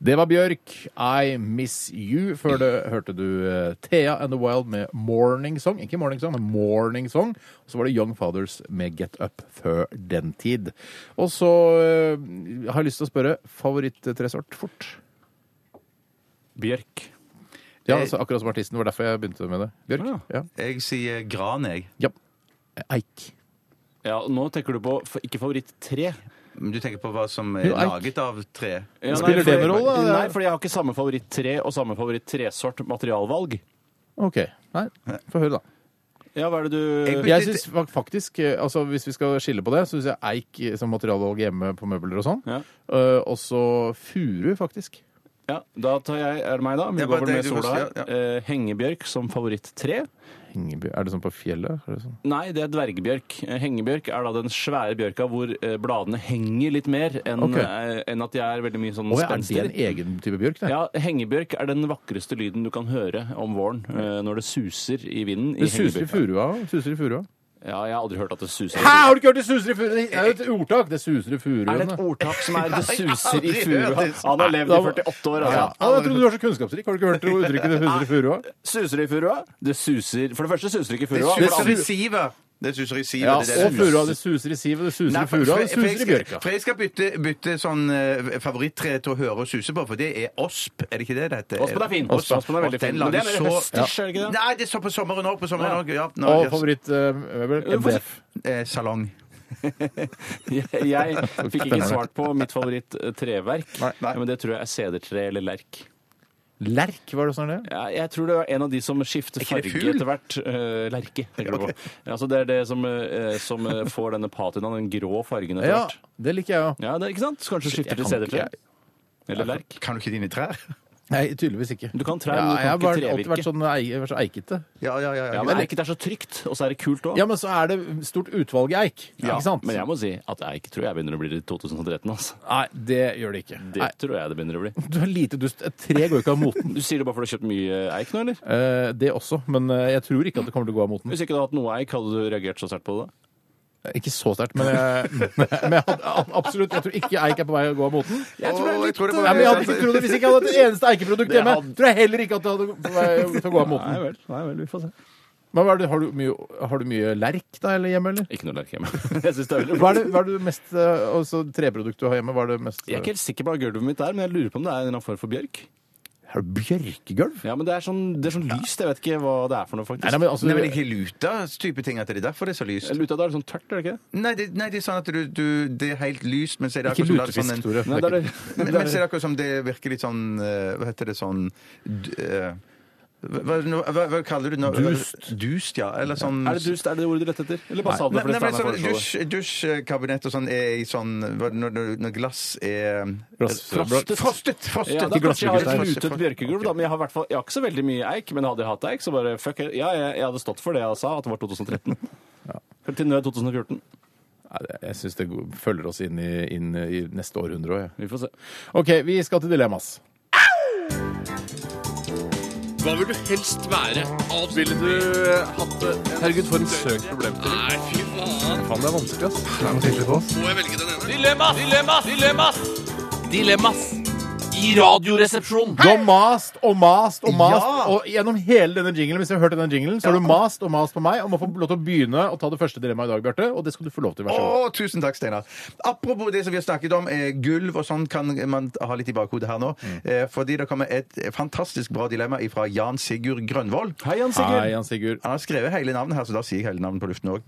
S3: Det var Bjørk, I Miss You. Før det hørte du eh, Thea and The Wild med Morning Song. Ikke Morning Song, men Morning Song. Og så var det Young Fathers med Get Up før den tid. Og så eh, har jeg lyst til å spørre favorittresort fort.
S4: Bjørk.
S3: Ja, altså, akkurat som artisten. Det Ah. var derfor jeg begynte med det. Bjørk? Ja.
S5: Jeg sier gran, jeg.
S3: ja. Eik.
S4: Ja, og nå tenker du på f- ikke favoritt tre.
S5: Men du tenker på hva som
S3: Jo,
S5: er
S3: eik.
S5: laget av tre?
S4: Ja,
S3: Spiller
S4: fordi-
S3: det noen rolle, da?
S4: Nei, fordi jeg har ikke samme favoritt tre og samme favoritt tresort materialvalg.
S3: OK. Nei, få høre, da.
S4: Ja, hva er det du
S3: Jeg synes fak- faktisk, eh, altså Hvis vi skal skille på det, så syns jeg eik eh, som materialvalg hjemme på møbler og sånn.
S4: Ja.
S3: Eh, også furu, faktisk.
S4: Ja, da tar jeg, er det meg da? Vi
S5: Ja,
S4: går
S5: bare
S4: vel med
S5: det du
S4: sola her.
S5: vil si, ja,
S4: Eh, hengebjørk som favoritt tre.
S3: Hengebjørn Er det sånn på fjellet? Er det sånn?
S4: Nei, det er dvergbjørk. Eh, Hengebjørk er da den svære bjørka hvor eh, bladene henger litt mer enn
S3: Ok.
S4: eh, enn at de er veldig mye sånn
S3: Å, ja, er det en
S4: spenstig.
S3: egen type bjørk? Det?
S4: Ja, hengebjørk er den vakreste lyden du kan høre om våren eh, når det suser i vinden. i
S3: det suser i
S4: hengebjørka.
S3: furua. Suser i furua.
S4: Ja, jeg har aldri hørt at det suser. i
S3: Hæ,
S4: furua.
S3: har du ikke hørt det suser i furua? Det er jo et ordtak. Det suser i
S4: Er det
S3: furuen.
S4: et ordtak som [laughs] er 'det suser i
S5: aldri hørt
S4: furua'?
S5: det.
S4: Han har levd i 48 år,
S3: Ja,
S4: altså.
S3: ja, jeg trodde du var så kunnskapsrik. Har du ikke hørt det uttrykket det suser i furua?
S4: Suser i furua? Det suser For det første suser ikke i furua.
S3: Det
S4: for
S3: suser-
S4: det
S5: Suser i sivet. Det suser i sivet.
S3: Ja,
S5: det er det
S3: og
S5: det
S3: furua. Det suser i sivet, det suser
S5: Nei,
S3: i
S5: for,
S3: furua,
S5: for,
S3: det
S5: for, jeg
S3: suser i bjørka.
S5: skal, for jeg skal bytte, bytte sånn eh, favorittre til å høre og suse på, for det er osp. Er det ikke det det heter?
S4: Ospen er fin.
S5: Osp,
S4: Ospen er veldig
S5: og den
S4: fin. Men det er
S5: lager
S4: mer
S5: så-
S4: høstisk, er det ikke det?
S5: Nei, det er så på sommeren òg. På sommeren
S4: Ja.
S5: også, ja. Nå,
S3: Og eh,
S5: yes.
S3: favorittmøbel?
S4: Ja, for-
S3: MDF.
S5: eh, salong.
S4: [laughs] Jeg, jeg fikk ikke svart på mitt favoritt eh, treverk,
S5: Nei, nei.
S4: men det tror jeg er sedertre eller lerk.
S3: Lerk, var det sånn det?
S4: Ja, jeg tror det er en av de som skifter
S5: ikke det
S4: farge
S5: fugl?
S4: etter hvert. Eh, lerke. tenker du på. Altså, det er det som, eh, som eh, får denne patinaen, den grå fargen etter
S3: Ja,
S4: hvert.
S3: det liker jeg òg.
S4: Ja, det er ikke sant? Så kanskje du
S3: Shit, jeg
S4: skifter til
S3: kan ikke,
S4: sedertre.
S3: jeg-
S4: Eller lerk.
S5: Kan du ikke dine trær?
S3: Nei, tydeligvis ikke.
S4: Du kan trær,
S3: Ja,
S4: men
S3: jeg har
S4: du kan
S3: bare alltid
S4: ikke
S3: vært
S4: trevirke.
S3: sånn, eik- vært så eikete.
S5: [laughs] Ja, ja, ja.
S4: Ja,
S5: ja.
S4: men eik det er så trygt, og så er det kult òg.
S3: Ja, men så er det stort utvalg i eik. ikke sant?
S4: men jeg må si at eik tror jeg begynner å bli det i 2013. altså.
S3: Nei, det gjør det ikke.
S4: Det
S3: Nei,
S4: tror jeg det begynner å bli.
S3: du er lite dust. Et Tre går jo ikke av
S4: [laughs]
S3: moten.
S4: Du sier det bare fordi du har kjøpt mye eik nå, eller?
S3: Eh, det også, men eh, jeg tror ikke at det kommer til å gå av moten.
S4: Hvis ikke du hadde hatt noe eik, hadde du reagert så sterkt på det da?
S3: Ikke så sterkt, men, jeg, [laughs] men jeg hadde, absolutt. Jeg tror ikke eik er på vei å gå av moten.
S5: Jeg tror det er litt- eh,
S3: Nei, men jeg hadde ikke trodd det Hvis jeg ikke hadde hatt [laughs] et eneste eikeprodukt hjemme,
S4: hadde-
S3: tror jeg heller ikke at det hadde på vei til å gå av moten.
S4: vel, nei vel, vi får se.
S3: Men hva er det, har, du mye, har du mye lerk da, eller hjemme, eller?
S4: Ikke noe lerk hjemme. [laughs] Jeg synes det er veldig
S3: Hva er det, hva er det mest eh, altså, treprodukt du har hjemme? Hva er det mest
S4: Jeg er ikke helt sikker på hva gulvet mitt er, men jeg lurer på om det er en eller annen form for bjørk.
S3: Har du bjørkegulv?
S4: Ja, men det er sånn, det er sånn lyst, jeg vet ikke hva det er for noe, faktisk.
S3: Nei, nei, men altså
S5: Nei, men ikke luta-type ting, at det er derfor det er så lyst.
S4: Jeg lurer på at det er sånn tørt, er det ikke det?
S5: Nei, det, nei, det er sånn at du, du Det er helt lyst, men så er det
S3: Ikke
S5: akkurat som lager
S3: lutefisk,
S5: en-
S3: Tore.
S4: Nei, det er det.
S5: Men, men så er det akkurat som det virker litt sånn eh, Hva heter det sånn d- eh, hva, hva, hva, hva kaller du det nå?
S3: Dust.
S5: Dust, ja. Eller sånn
S4: Er det dust, er det det ordet du lette etter? Eller bare sa du
S5: Nei,
S4: det fordi
S5: nei,
S4: Steinar
S5: men sånn
S4: foreslo det?
S5: dusj- Dusjkabinett og sånn er i sånn hva- Når, når, når glass er
S3: Glass-
S5: frostet. Frostet! frostet.
S4: Ja, da kanskje jeg har et
S5: Frostet,
S4: lutet
S5: frostet.
S4: bjørkegulv, da, men jeg har, i hvert fall, jeg har ikke så veldig mye eik. Men hadde jeg hatt eik, så bare fuck it. Ja, jeg, jeg hadde stått for det jeg sa, at det var 2013. Til nød 2014.
S3: Nei, det- Jeg syns det go- følger oss inn i, inn i neste århundre òg, jeg.
S4: Vi får se.
S3: OK, vi skal til dilemmas.
S7: Hva vil du helst være? Ville du eh, hatt det?
S3: Herregud, for en søk problem.
S7: Nei, fy faen.
S3: Faen, det er vanskelig, ass.
S7: Må jeg velge den ene? Dilemmas! Dilemmas! Dilemmas! Dilemmas! i Radioresepsjonen.
S3: Du har mast og mast og mast.
S7: Ja.
S3: Og gjennom hele denne jinglen, hvis du har hørt denne jinglen, så har du mast og mast på meg om å få lov til å begynne å ta det første dilemmaet i dag, Bjarte. Og det skal du få lov til. Vær så god.
S5: Å, tusen takk, Steinar. Apropos det som vi har snakket om, eh, gulv og sånn kan man ha litt i bakhodet her nå.
S4: Mm.
S5: Eh, fordi det kommer et fantastisk bra dilemma fra Jan Sigurd Grønvoll.
S4: Hei, Jan
S3: Hei, Jan Sigurd.
S5: Han har skrevet hele navnet her, så da sier jeg hele navnet på luften òg.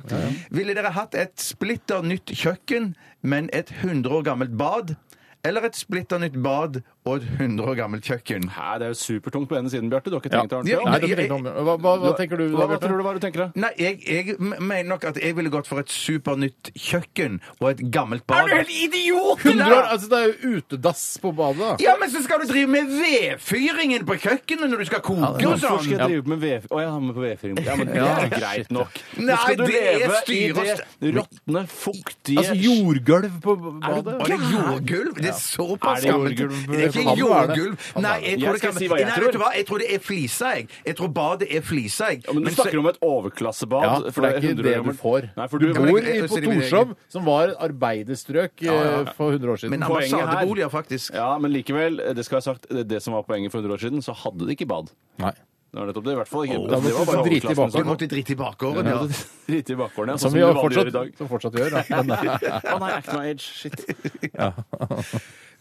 S5: Ville dere hatt et splitter nytt kjøkken, men et 100 år gammelt bad? Eller et splitter nytt bad og et 100 år gammelt kjøkken?
S4: Hæ, det er jo supertungt på ene siden, Bjarte. Du har ikke tenkt deg
S5: Ja.
S4: ordentlig om.
S3: Nei, det blir dumt. Hva, hva, hva tenker du
S4: Hva,
S3: da,
S4: hva
S3: Bjarte?
S4: tror du hva du tenker deg?
S5: Nei, jeg, jeg m- mener nok at jeg ville gått for et supernytt kjøkken og et gammelt bad.
S7: idiot!
S3: 100 år? Altså, det er jo utedass på badet. da.
S5: Ja, men så skal du drive med vedfyringen på kjøkkenet når du skal koke og
S4: Hvorfor skal
S5: sånn!
S4: jeg drive med vedfyring? Å, jeg har med på vedfyring. Ja, men
S3: [laughs]
S4: det
S3: Ja.
S4: er greit nok.
S5: Nei,
S4: Nå skal du
S5: det er
S4: leve i
S5: styr og
S4: det råtne, fuktige
S3: Altså jordgulv på
S4: Er det
S3: badet.
S5: Og det er jordgulv! Det er såpass
S4: Er det
S5: gammelt.
S4: jordgulv
S5: Det
S3: på
S5: er ikke
S3: vannet, er det?
S5: jordgulv. Nei, jeg
S4: Jeg
S5: tror det
S4: skal
S5: kan
S4: si hva jeg
S5: Nei,
S4: tror.
S5: vet du hva? Jeg tror det er flisa, jeg. Jeg tror badet er flisa, jeg.
S4: Ja, men Du
S5: Men så-
S4: snakker om et overklassebad.
S3: Ja, for det er ikke
S4: 100
S3: det
S4: år
S3: du
S4: gammelt.
S3: får.
S4: Nei, for
S3: Du
S4: du,
S3: bor i,
S5: jeg-
S3: på
S5: jeg-
S3: Torshov, som var et arbeiderstrøk
S5: ja, ja.
S3: eh, for 100 år siden.
S5: Men
S4: poenget her-
S5: ambassadeboliger, faktisk.
S4: Ja, men likevel, det skal jeg ha sagt, det- det som var poenget for 100 år siden, så hadde de ikke bad.
S3: Nei.
S4: Det var nettopp det, i hvert fall ikke.
S3: da
S4: det
S3: måtte
S4: var bare
S3: du drite i
S4: overklassen
S5: Du
S4: som-
S5: måtte drite i bakgården, ja.
S4: Drite i bakgården, ja. Sånn
S3: Som
S4: som
S3: vi
S4: du
S3: jo
S4: vanlig gjør i
S3: fortsatt,
S4: dag.
S3: som fortsatt gjør. [laughs] Da. Men,
S4: Å nei, act my age. Shit.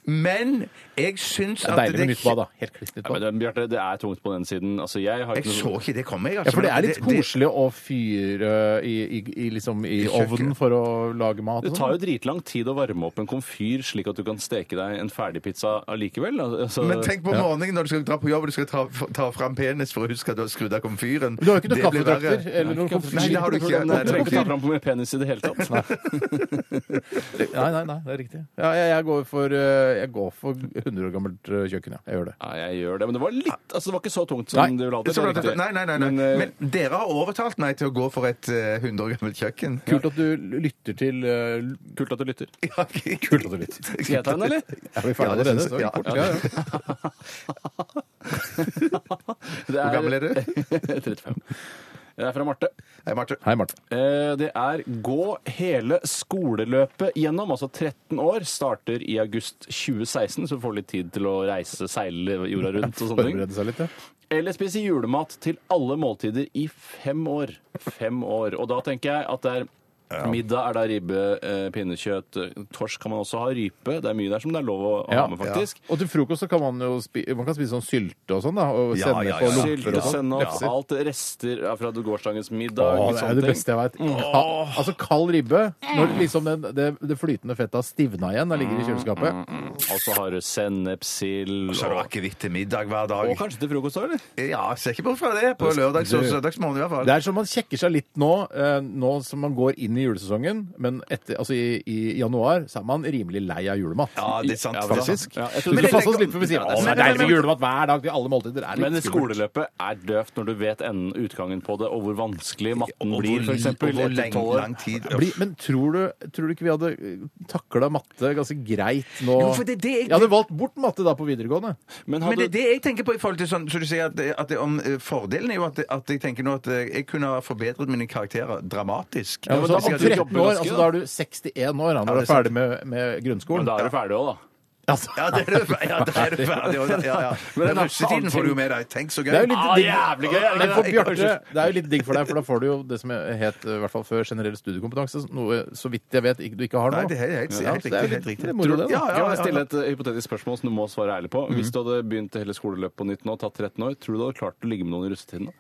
S5: Men jeg syns
S3: det
S5: at
S3: er deilig med nytt bad,
S5: det
S3: da. Helt kliss nytt
S4: Nei, men
S3: bad.
S4: det, Bjarte, det er tungt på den siden. Altså, jeg har
S5: Jeg
S4: ikke
S5: så ikke det komme, jeg.
S3: Ja,
S5: altså.
S3: for det er
S5: Men
S3: litt koselig å fyre eh, i, i, i, liksom, i
S5: kjøkkenet.
S3: ovnen for å lage mat.
S4: Det
S3: og
S4: tar jo
S3: sånn.
S4: dritlang tid å varme opp en komfyr slik at du kan steke deg en ferdigpizza allikevel. Altså,
S5: Men tenk på morgenen når du skal dra på jobb og du skal ta, ta fram penis for å huske at du har skrudd av komfyren.
S3: Du har jo ikke noen
S5: Det blir verre.
S3: kaffetrakter eller noen
S5: Nei, det har du ikke. Nei,
S4: Jeg
S5: det
S4: trenger ikke
S5: er
S4: ta
S5: riktig.
S4: fram på min penis i det hele tatt.
S3: Nei, nei, nei, det er riktig. Ja, jeg, jeg, går for, eh, jeg går for 100 år gammelt eh, kjøkken, ja. Jeg gjør det.
S4: [laughs] Nei, jeg gjør det, men det var litt Altså, det var ikke så tungt
S3: Nei.
S4: som du la det
S5: Så
S4: til.
S5: bra sånn at- Nei, nei, nei, nei.
S4: Men, eh,
S5: Men dere har overtalt meg til å gå for et eh, 100 år gammelt kjøkken.
S3: Kult at du lytter til eh,
S4: Kult at du lytter.
S5: Ja,
S3: Kult at du lytter.
S4: Skal jeg ta en, eller?
S3: Er vi ferdig
S5: Ja, det
S3: allerede?
S5: synes jeg.
S3: Ja,
S5: Ja.
S3: ja, ja.
S4: Det
S5: [laughs] Hvor gammel er
S4: [laughs]
S5: du?
S4: 35. Det er fra Marte.
S5: Hei, Marte.
S3: Hei, Marte.
S4: Eh, Det er gå hele skoleløpet gjennom, altså 13 år. Starter i august 2016, så du får litt tid til å reise, seile jorda rundt og sånne ting.
S3: Forberede seg litt, ja.
S4: Eller spise julemat til alle måltider i fem år. Fem år. Og da tenker jeg at det er Middag er da ribbe, eh, pinnekjøtt, eh, torsk kan man også ha, rype. Det er mye der som det er lov å å ha med, faktisk.
S3: Og til frokost så kan man jo spi man kan spise sånn sylte og sånn, da. Og
S5: Ja,
S3: sennep
S5: ja, ja.
S3: og lomper
S4: Sylte,
S3: og sånn.
S4: sennep,
S3: Lefser.
S4: alt rester ja, fra gårsdagens middag.
S3: Å, det er
S4: sånne
S3: det
S4: ting.
S3: beste jeg veit. Altså kald ribbe når liksom den, det, det flytende fettet har stivna igjen og ligger i kjøleskapet.
S4: Og så har du sennepsild
S5: Så har du
S4: og,
S5: akevitt til middag hver dag.
S4: og kanskje til frokost òg, eller?
S5: Ja, ser ikke bort fra det. På lørdags og
S3: Du-
S5: søndagsmorgen i hvert fall.
S3: Det er som man sjekker seg litt nå, eh, nå som man går inn i julesesongen, men etter, altså i, i januar så er man rimelig lei av julemat.
S5: Ja, det er sant.
S4: Ja,
S3: Faktisk.
S4: Ja, jeg tror-
S3: Vi
S4: Men jeg
S3: skal passe
S5: tenker-
S3: oss litt for vi sier
S5: Ja,
S3: å,
S5: det er
S3: det
S5: sant.
S3: er deilig med julemat hver dag til alle måltider. Det er
S4: Men
S3: litt skummelt.
S4: skoleløpet er døvt når du vet enden, utgangen på det, og hvor vanskelig matten
S5: Og
S4: blir,
S5: hvor-
S4: f.eks.
S5: og hvor
S4: etter
S5: lenge-
S4: tolv år.
S5: lang tid.
S3: Bli, men tror du, tror du ikke vi hadde takla matte ganske greit nå?
S5: Jo, for det er det jeg-
S3: jeg hadde valgt bort matte da på videregående.
S4: Men
S5: Men det
S4: hadde
S5: er det jeg tenker på i forhold til sånn, så du sier at, det- at det, om eh, Fordelen er jo at, det- at jeg tenker nå at eh, jeg kunne ha forbedret mine karakterer dramatisk.
S3: Ja, men så
S4: da
S3: om
S4: skal du
S3: 13
S4: jobbe
S3: år,
S4: ganske,
S3: altså
S4: da.
S3: Da er du 61 år da, når du
S5: det
S3: er
S5: er sant.
S3: ferdig med, med
S4: Men
S3: grunnskolen.
S4: da er du ferdig òg, da.
S3: Altså,
S5: Ja, det er du, ja, det er du ferdig. også. Ja, ja.
S3: Men
S5: Men
S3: den er
S5: russetiden
S3: faen
S5: får du jo med deg. Tenk så gøy.
S3: det er jo litt
S4: Ah,
S3: digg.
S4: jævlig gøy, er det
S3: Men
S4: ikke
S3: for
S4: det?
S3: Bjarte, det er jo litt digg for deg, for da får du jo det som het i hvert fall før generell studiekompetanse, noe så vidt jeg vet ikke- du ikke har nå.
S5: Nei, det er helt, helt,
S3: Ja, så
S5: helt
S3: det er
S5: riktig.
S3: litt-
S5: Helt riktig.
S3: det er moro, det, da.
S5: Ja,
S4: Kan
S5: ja,
S4: jeg
S5: ja,
S4: stille
S5: ja.
S4: et eh, hypotetisk spørsmål som du må svare ærlig på? Hvis du hadde begynt hele skoleløpet på nytt nå, tatt 13 år, tror du du hadde klart å ligge med noen i russetiden? da?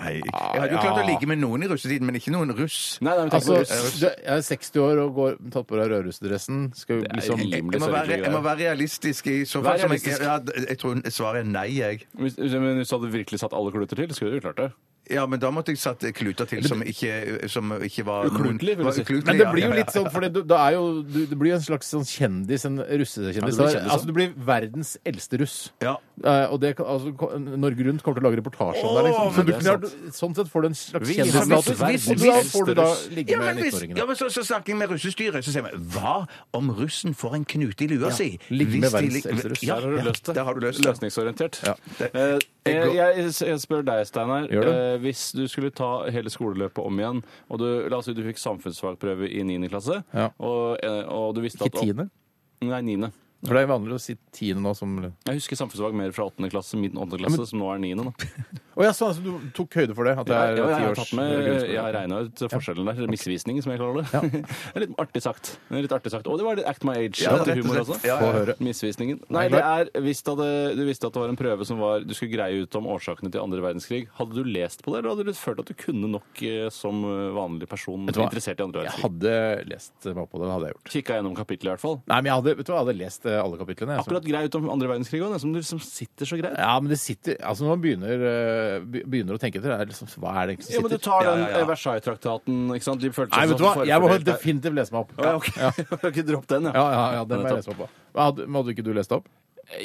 S5: Nei, Jeg hadde jo
S3: ja.
S5: klart å ligge med noen i russetiden, men ikke noen russ.
S4: Nei, nei, men tenk
S3: Altså,
S4: på russ.
S3: du er 60 år og går, tatt på deg rødrussdressen, skal jo
S4: Det er
S3: liksom
S4: rimelig.
S5: Jeg må være, jeg må være realistisk. I så
S4: Vær
S5: fall, som jeg,
S4: realistisk.
S5: ja, jeg tror svaret er nei, jeg.
S4: Hvis, men hvis du hadde virkelig satt alle kluter til, skulle du jo klart det.
S5: Ja, men da måtte jeg satt kluter til som ikke, som ikke var
S4: Uklutelig, vil jeg si.
S5: uklutelig,
S3: Men det
S5: ja.
S3: blir jo
S5: Ja,
S3: litt sånn, for det, da er jo, du, det blir jo en slags sånn kjendis, en russekjendis.
S4: Ja, du blir
S3: Da-
S4: kjendis,
S3: altså,
S4: da.
S3: du blir verdens eldste russ.
S5: Ja.
S3: Eh, og det, kan- altså, ko- Norge Rundt kommer til å lage reportasje om deg. Liksom. Så du,
S4: det er
S3: kunne vært- sånn sett får du en slags
S4: Vi-
S3: kjendisstatus. Og
S4: Verdens
S3: da
S4: eldste
S3: får du da
S4: russ.
S3: ligge
S5: Ja, men,
S3: med
S5: hvis,
S3: 19-åringene.
S5: ja, men så, så snakker jeg med russestyret, så sier vi hva om russen får en knute i lua si?
S3: ligge med
S5: Hvis de
S3: verdens
S5: lig-
S3: eldste russ.
S5: Ja,
S4: Der har du løst det.
S5: Der har du løst det.
S4: Løsningsorientert.
S3: Ja.
S4: Eh, Jeg, jeg, jeg spør deg, Steinar.
S3: Gjør det.
S4: Eh, Hvis du skulle ta hele skoleløpet om igjen, og du, la oss si du fikk samfunnsfagprøve i 9. klasse,
S3: Ja.
S4: og, eh, og du visste
S3: Ikke
S4: at
S3: tiende?
S4: Nei, niende.
S3: For det er jo vanlig å si tiende nå som Å
S4: Jeg husker samfunnsfag mer fra 8. klasse, min 8. klasse, som nå er 9. Da.
S3: ja, sånn, altså, du tok høyde for det? At det
S4: Ja,
S3: er
S4: ja, jeg har
S3: tiårs-
S4: tatt med,
S3: grunnskole.
S4: jeg har regna ut forskjellen der. Misvisning, som jeg kaller [laughs] det. Det er litt artig sagt. Det er Litt artig sagt. Og det var litt Act My Age.
S3: Ja,
S4: litt
S3: rett og
S4: humor
S3: slett.
S4: også.
S3: Ja, ja, ja.
S4: Misvisningen. Nei, det er hvis du, hadde, du visste at det var en prøve som var Du skulle greie ut om årsakene til andre verdenskrig. Hadde du lest på det, eller hadde du følt at du kunne nok eh, som vanlig person
S3: Vet du hva?
S4: interessert i andre
S3: Jeg
S4: verdenskrig?
S3: hadde lest meg på det. Det hadde jeg gjort.
S4: Kikka gjennom kapittelet, i hvert fall.
S3: Nei, men jeg hadde, vet du hva, jeg hadde lest eh, alle kapitlene. jeg, så-
S4: Akkurat grei ut om andre verdenskrig òg, som du liksom sitter så greit.
S3: Ja, men det sitter Altså, når man begynner, eh, be- begynner å tenke etter, det er liksom, hva er det egentlig som
S4: Ja, men
S3: sitter?
S4: du tar den
S3: Ja, ja, ja.
S4: eh, Versailles-traktaten, ikke sant? De følte seg
S3: Nei, vet du
S4: som
S3: hva, jeg må
S4: forfordelt der.
S3: definitivt lese meg opp.
S4: Å, Ja, ok. [laughs] Ok, Dropp den, ja.
S3: Ja, ja, ja, den må jeg lese meg opp. på. Hva Hadde, men hadde ikke du lest det opp?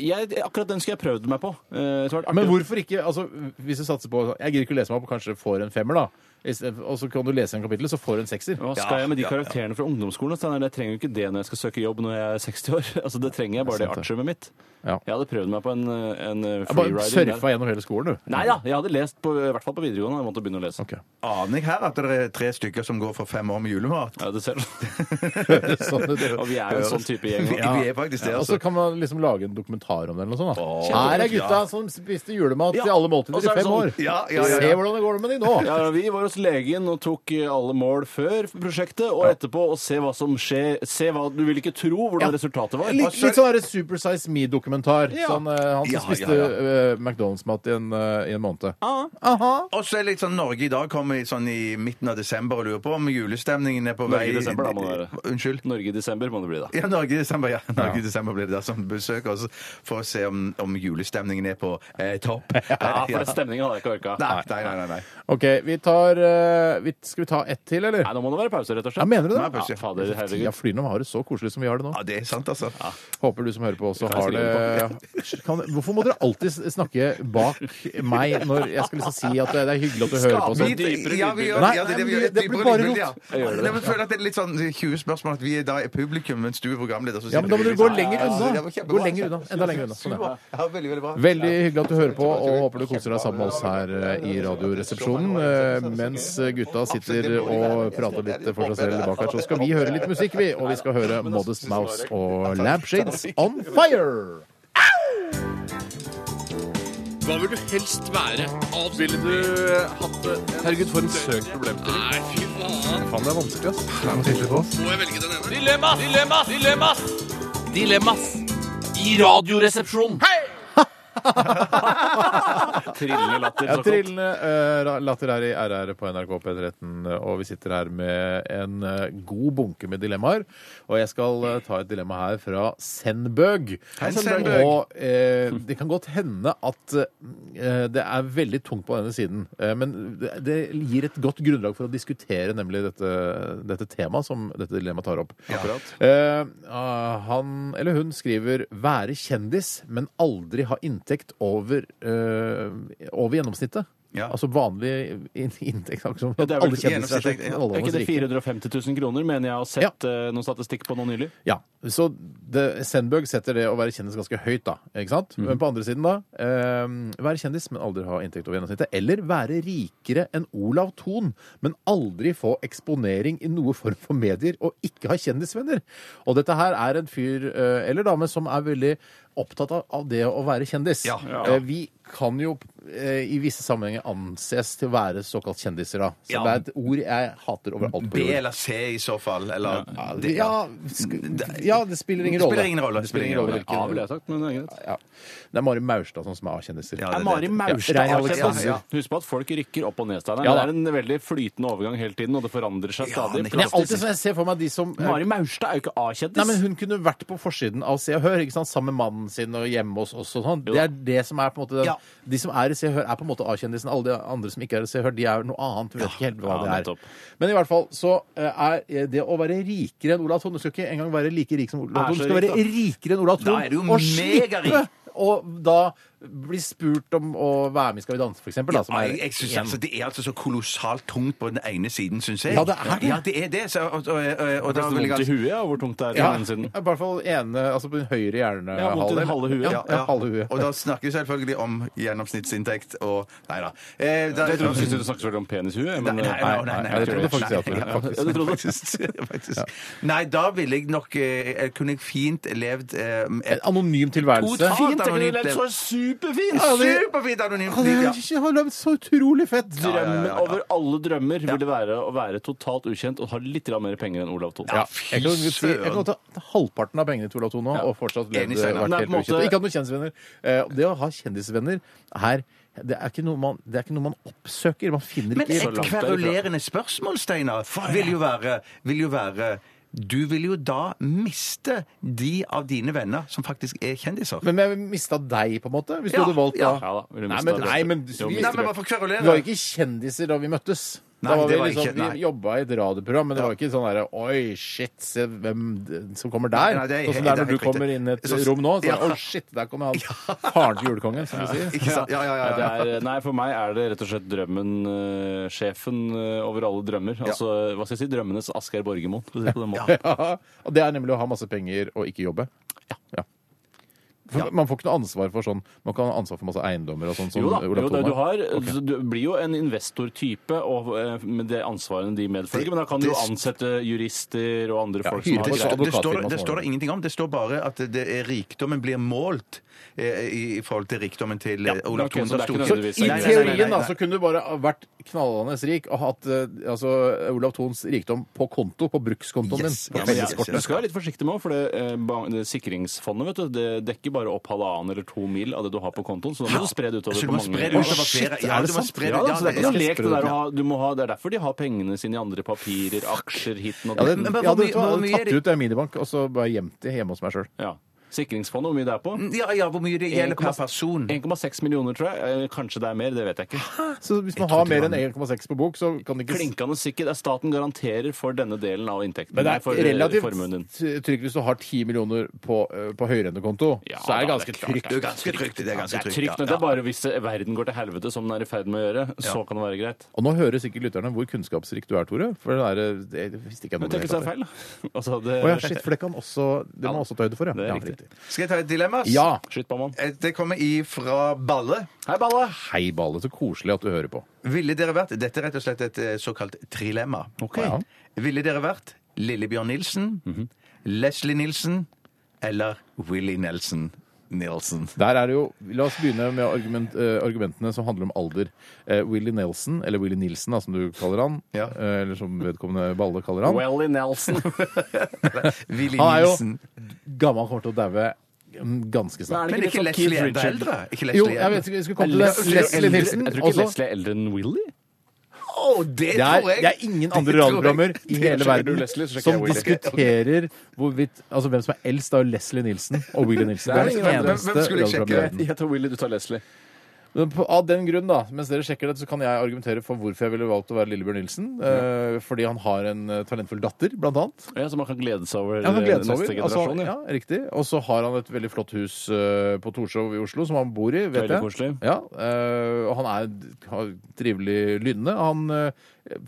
S4: Jeg, akkurat den skulle jeg prøvd meg på. Eh, det var artig.
S3: Men hvorfor ikke? altså, Hvis du satser på Jeg gidder ikke å lese meg opp, kanskje får en femmer, da. I stedet- Og så kan du lese en kapittel, så får du en sekser.
S4: Hva skal jeg med de karakterene fra ungdomsskolen? Steinar? Jeg trenger jo ikke det når jeg skal søke jobb når jeg er 60 år. [laughs] Altså, Det trenger jeg bare det
S3: sant, det.
S4: artiumet mitt.
S3: Ja.
S4: Jeg hadde prøvd meg på en, eh, en eh,
S3: Jeg bare
S4: freeriding.
S3: surfa gjennom hele skolen, du.
S4: Nei da, jeg hadde lest på, i hvert fall på videregående. Jeg måtte begynne å lese.
S3: Ok. [laughs]
S5: Aner jeg her at det er tre stykker som går for fem år med julemat?
S4: Ja, det
S3: [laughs]
S4: ser du.
S3: Høres sånn ut.
S4: Og vi er jo en sånn
S5: [laughs]
S4: type gjeng.
S5: Vi, vi er faktisk det,
S3: [laughs] Ja, og
S5: altså.
S3: så kan man liksom lage en dokumentar om det eller noe sånt. da. Her er gutta som spiste julemat til alle måltider
S4: Og så er
S3: i
S4: det
S3: fem
S4: sånn-
S3: år.
S5: Ja, ja, ja, ja.
S3: Se hvordan det går med de nå.
S4: Ja, vi var hos legen og tok eh, alle mål før prosjektet og etterpå, og se hva som skjer. Se hva du vil ikke tro hvordan resultatet var.
S3: Litt, litt sånn der Super Size Me-dokumentar.
S4: Ja.
S3: Sånn, eh, han som
S5: Ja, ja,
S3: spiste
S5: ja.
S3: eh, McDonald's-mat i, en, eh, i en måned.
S5: Og så er det litt sånn Norge i dag kommer i sånn i midten av desember og lurer på om julestemningen er på
S4: Norge
S5: vei
S4: i desember, da, må det være.
S5: Unnskyld?
S4: Norge i desember må det bli, da.
S5: Ja, Norge i desember, ja. Norge i desember blir det der som besøker oss for å se om, om julestemningen er på eh, topp.
S4: Ja, for
S5: Ja.
S4: en stemning hadde jeg ikke orka.
S5: Nei, nei, nei. nei, nei.
S3: OK, vi tar eh, vi, Skal vi ta ett til, eller?
S4: Nei, nå må det være pause, rett og slett.
S3: Ja, mener du det?
S5: Nei, pause.
S4: Ja, fader,
S3: Tida
S4: herregud.
S3: flyr når vi har det så koselig som vi har det nå.
S5: Ja, det er sant, altså.
S3: Håper du som hører på også
S4: Kan jeg
S3: har det kan, Hvorfor må dere alltid snakke bak meg når jeg skal liksom si at det er hyggelig at du hører på?
S4: Skape
S3: og
S5: Vi,
S3: sånn?
S4: dypere
S5: ja, vi gjør,
S3: Nei,
S5: ja, det, er det,
S3: nei,
S5: vi gjør,
S3: det
S5: Dypere
S3: blir bare
S5: lydbilde,
S3: rot.
S5: Ja. Nei, men Jeg føler at det er litt sånn 20 spørsmål at vi da er publikum, mens du er programleder. så
S3: Ja, men da
S5: sitter
S3: må du
S5: liksom-
S3: gå lenger
S5: Ja,
S3: unna.
S5: det var kjempebra.
S3: Gå lenger unna. Enda lenger unna. Sånn, ja.
S5: Ja, veldig, veldig bra.
S3: Veldig hyggelig at du hører på, og håper du koser deg sammen med oss her eh, i Radioresepsjonen. Eh, Mens gutta sitter og prater litt for seg selv bak her, så skal vi høre litt musikk, vi. Og vi skal høre Modest Mouse og Lampshades On Fire.
S7: Hva vil du helst være? Alt Ville du eh, hatt det?
S4: Herregud, for en søk problemstilling.
S7: Nei, fy faen.
S3: Faen, det er vanskelig, ass.
S7: Må jeg velge den ene? Dilemmas! Dilemmas! Dilemmas! Dilemmas i Radioresepsjonen.
S4: Trillende latter.
S3: Ja,
S4: såkalt.
S3: trillende eh, la- latter her i RR på NRK P13, og vi sitter her med en eh, god bunke med dilemmaer. Og jeg skal eh, ta et dilemma her fra Sendbøg.
S5: Hei, Sennbøg.
S3: Og eh, det kan godt hende at eh, det er veldig tungt på denne siden, eh, men det, det gir et godt grunnlag for å diskutere nemlig dette, dette temaet som dette dilemmaet tar opp. Eh, ah, han eller hun skriver 'være kjendis, men aldri ha inntekt over, eh, over gjennomsnittet'.
S5: Ja.
S3: Altså vanlig in inntekt. akkurat som
S4: det er
S3: at
S4: vel
S3: alle kjendiser er så
S5: gjennomsnittlig, ja.
S3: alle
S4: Er
S3: oss
S4: ikke det
S3: rike.
S4: 450 000 kroner, mener jeg har sett eh, noen statistikk på nå nylig?
S3: Ja, så det, Sandberg setter det å være kjendis ganske høyt, da. ikke sant?
S5: Mhm.
S3: Men på andre siden, da eh, Være kjendis, men aldri ha inntekt over gjennomsnittet. Eller være rikere enn Olav Thon, men aldri få eksponering i noe form for medier, og ikke ha kjendisvenner. Og dette her er en fyr eh, eller dame som er veldig opptatt av, av det å være kjendis.
S5: Ja, ja.
S3: Eh, vi kan jo eh, i visse sammenhenger anses til å være såkalt kjendiser, da. Så
S5: Ja.
S3: det er et ord jeg hater overalt på
S5: B
S3: jord.
S5: eller C i så fall, eller
S3: Ja,
S5: det-
S3: det, ja, sk- ja, det spiller ingen rolle.
S5: Det spiller ingen rolle.
S3: Det spiller ingen rolle.
S4: Ja, ville jeg sagt, men det er greit.
S3: Ja. Det er Mari Maurstad sånn, som er A-kjendiser.
S5: Ja,
S4: Er Mari Maurstad
S3: Ja, Rein
S4: avsett,
S3: Alexander.
S4: altså? Husk på at folk rykker opp og ned, Steinar.
S3: Ja,
S4: det
S3: da.
S4: er en veldig flytende overgang hele tiden, og det forandrer seg
S5: Ja,
S4: stadig.
S5: Niklas.
S3: Men jeg, er alltid, sånn, jeg ser for meg de som
S4: Mari Maurstad er jo ikke
S3: Nei, men
S4: A-kjendis.
S3: Hun kunne vært på forsiden av Se og Hør ikke sant? sammen med mannen sin og hjemme hos oss. og sånn.
S4: Jo.
S3: Det er det som er på en måte den,
S5: Ja.
S3: De som er i Se og Hør, er på en måte A-kjendisen. Alle de andre som ikke er i Se og Hør, de er noe annet. Vi vet ikke helt hva
S4: Ja,
S3: det
S4: nettopp.
S3: er. Men i hvert fall så eh, er det å være rikere enn Olav Thon Du skal ikke engang være like rik som Olav
S4: Er
S3: Thon. Du
S4: så
S3: skal
S4: rik,
S3: være rikere enn Olav Thon
S5: Da er du
S3: og
S5: megarik.
S3: slippe å da blir spurt om å være med i Skal vi danse, for eksempel. Da, som
S5: Ja,
S3: er
S5: jeg, jeg synes,
S3: en-
S5: altså, Det er altså så kolossalt tungt på den ene siden, syns jeg.
S3: Ja, det er det.
S5: Ja, det er det. Så, og, og, og, og
S4: Det
S5: da
S4: er
S5: vil jeg
S4: vondt i
S5: altså
S4: huet av hvor tungt det er
S3: ja,
S4: på den siden.
S3: I hvert fall ene, altså på den høyre
S4: Ja, vondt i
S3: hjernehalvdel.
S4: det halve huet.
S3: Ja, ja, halve huet.
S5: Og da snakker vi selvfølgelig om gjennomsnittsinntekt og Nei da. Eh, da
S4: Jeg trodde du syntes du snakket så veldig om penishue.
S5: Nei,
S4: Men,
S5: nei, nei, nei, nei,
S3: eh, nei, jeg trodde faktisk
S5: nei,
S3: at du-
S5: ja,
S3: faktisk.
S5: ja, du trodde faktisk- [laughs] faktisk. Nei, da ville jeg nok eh, Kunne jeg fint levd eh,
S3: En anonym tilværelse.
S5: Totalt
S4: Fint! Jeg kunne
S5: anonymt,
S4: levd
S5: det.
S4: så superfint!
S3: Ja, det-
S5: Superfint anonymt
S3: Han
S5: liv!
S3: er
S5: Ja.
S3: ikke- han er så utrolig fett!
S4: Drømmen
S5: ja, ja, ja.
S4: over alle drømmer ville være å være totalt ukjent og ha litt grann mer penger enn Olav Thon.
S3: Ja, jeg kan godt si, jeg kan godt ta halvparten av pengene til Olav Thon nå, og fortsatt levd
S5: Enig,
S3: vært
S5: Steinar.
S3: helt
S4: Nei, på en
S3: ukjent.
S4: måte-
S3: Ikke hatt noen kjendisvenner. Eh, Det å ha kjendisvenner her det er, ikke noe man, det er ikke noe man oppsøker. Man finner
S5: Men
S3: ikke så
S5: et
S3: langt derifra.
S5: kverulerende spørsmål, Steinar, vil jo være, vil jo være Du vil jo da miste de av dine venner som faktisk er kjendiser.
S3: Men jeg mista deg, på en måte, hvis du
S5: Ja,
S3: hadde valgt
S5: ja.
S4: Ja da, ville
S3: nei,
S4: mistet
S3: men,
S4: deg.
S3: nei, men
S4: Jo,
S3: vi,
S4: mistet
S5: Nei, men bare for å kverulere.
S3: Vi var ikke kjendiser da vi møttes.
S5: Nei,
S3: da var
S5: det
S3: vi,
S5: var
S3: liksom,
S5: ikke- nei.
S3: vi jobba i et radioprogram, men det var ikke sånn derre Oi, shit, se hvem d- som kommer der.
S5: Nei, det er-
S3: sånn som det er
S5: det er
S3: når du
S5: helt riktig.
S3: kommer inn i et
S5: Så-
S3: rom nå. Så,
S5: Ja.
S3: Oi, shit, der kommer
S5: [laughs]
S3: han. Faren til julekongen, som du sier.
S5: Ikke sant? Ja, ja, ja. ja.
S4: Nei, det er, nei, for meg er det rett og slett drømmen, eh, sjefen eh, over alle drømmer. Altså, hva skal jeg si, drømmenes Asgeir Borgermoen, for å si det på den måten.
S3: Ja. Og det er nemlig å ha masse penger og ikke jobbe. Ja. For, Man får ikke noe ansvar for sånn Man kan ha ansvar for masse eiendommer og sånn. som
S4: Jo da,
S3: Olav
S4: jo, da
S3: Thon
S4: du, har, du blir jo en investortype og eh, med det ansvarene de medfølger, men da kan du jo
S5: det-
S4: ansette jurister og andre folk
S3: hyre
S4: som har
S3: folk.
S4: det
S5: Det, står-
S4: greit.
S5: det, står,
S3: Advokatfirma
S5: det står det ingenting om. Det står bare at det er rikdommen blir målt eh, i, i forhold til rikdommen til eh, Olav
S4: ok,
S5: Thon.
S4: så det er
S3: Så
S4: ikke nødvendigvis-
S3: I
S4: Nei, nei, nei, nei,
S3: teorien da,
S5: altså-
S3: så kunne du bare vært knallende rik og hatt eh, altså, Olav Thons rikdom på konto, på brukskontoen
S5: Yes,
S3: din. På
S5: yes, yes,
S3: felleskortet.
S4: Du skal være litt forsiktig med, for det, eh, ba- det sikringsfondet vet du, det dekker bare opp halvannen eller to mil av det du har på kontoen, så da må du spre det utover
S5: Så du
S4: på
S5: må
S4: mange
S5: spre det utover
S4: Å, shit,
S5: flere-
S4: er
S5: ja,
S4: det
S5: du må
S4: sant?
S5: spre det-
S4: Ja, da,
S5: ja,
S4: så det er ikke
S5: det-
S4: noe lek det der å
S3: ja.
S4: ha, du må ha, det er derfor de har pengene sine i andre papirer, aksjer, hiten og
S3: Ja, det,
S5: Men-
S3: jeg
S5: men hvor
S3: hadde,
S5: mye-
S3: jeg
S5: hvor
S3: hadde
S5: mye er
S3: tatt
S5: det-
S3: ut en minibank og så bare gjemt det hjemme hos meg sjøl.
S4: Ja. Sikringsfondet, hvor mye det er på?
S5: Ja, ja, hvor mye det gjelder per
S4: 1,6
S5: person.
S4: 1,6 millioner, tror jeg. Eh, Kanskje det er mer, det vet jeg ikke.
S3: Så hvis man
S5: Jeg
S3: har
S5: trodde
S3: mer
S5: det
S3: enn
S5: var-
S3: 1,6 på bok, så kan det ikke
S4: Klinkende sikkert er staten garanterer for denne delen av inntekten.
S3: Men det
S4: for,
S3: er
S4: eh, formuen din.
S3: relativt trygt hvis du har 10 millioner på, eh, på høyrentekonto.
S4: Ja,
S3: så er det
S4: da,
S3: ganske
S4: det er klart
S3: trygt.
S5: Det er ganske trygt. Det er ganske
S4: Det er
S5: trygt,
S4: trygt, men det er bare hvis verden går til helvete, som den er i ferd med å gjøre, så kan det være greit.
S3: Og nå hører sikkert lytterne hvor kunnskapsrik du er, Tore. For det er, eh, det, det visste ikke jeg noe
S4: Men tenk hvis det er feil, da. [laughs] Altså, det,
S3: Å ja, shit, for det kan også Det må også ta høyde for, ja.
S4: Det er
S3: ja.
S4: riktig.
S5: Skal jeg ta et dilemma?
S3: Ja.
S4: Skyt på mann.
S5: Eh, Det kommer ifra Balle.
S4: Hei, Balle!
S3: Hei, Balle, så koselig at du hører på.
S5: Ville dere vært Dette er rett og slett et eh, såkalt trilemma.
S3: Ja.
S5: Ville dere vært Lillebjørn Nilsen,
S4: Mhm.
S5: Leslie Nilsen eller Willy Nelson
S4: [laughs]
S5: Nilsen?
S3: Der er det jo, La oss begynne med argument, eh, argumentene som handler om alder. Eh, Willy Nelson, eller Willy Nilsen, da, som du kaller han,
S5: Ja.
S3: eh, eller som vedkommende Balle kaller han,
S4: Welly Nelson.
S5: Willy
S3: Han er jo-
S5: Nilsen.
S3: gammel kommer til å daue mm, ganske snart.
S4: Men
S5: Men
S4: er det
S5: er ikke
S4: sånn
S5: Leslie
S4: Keith
S5: enda
S4: Richard?
S5: eldre? Er Ikke
S3: Jo,
S5: Leslie
S3: jeg
S5: eldre?
S3: vet ikke, jeg skulle komme til det. Leslie Nilsen
S4: Jeg tror ikke
S3: også.
S4: Leslie er eldre enn Willy.
S5: Å, det,
S3: Det er,
S5: tror jeg!
S3: det er ingen andre
S5: Det tror jeg.
S3: radioprogrammer i
S5: Det
S3: hele
S5: sjekker
S3: verden
S5: du, Leslie, så sjekker
S3: som
S5: jeg Willy.
S3: diskuterer hvorvidt, altså hvem som er eldst. Det er jo Leslie Nilsen og Willy Nilsen. Det
S4: Det er
S3: er det
S4: ingen andre.
S3: eneste
S5: Hvem skulle jeg sjekke?
S3: radioprogrammet i verden.
S4: Jeg tar Willy, du tar Leslie.
S3: Men på- Av den grunn, da, mens dere sjekker det, så kan jeg argumentere for hvorfor jeg ville valgt å være Lillebjørn Nilsen. eh, Fordi han har en eh, talentfull datter, blant annet.
S4: Ja, så man kan glede seg over
S3: Ja, han gleder
S4: eh,
S3: seg over.
S4: neste
S3: Altså,
S4: generasjon.
S3: ja, riktig. Og så har han et veldig flott hus eh, på Torshov i Oslo, som han bor i. vet
S4: Veldig
S3: jeg.
S4: koselig.
S3: Ja, eh, og han er d- har trivelig lynne. Han eh,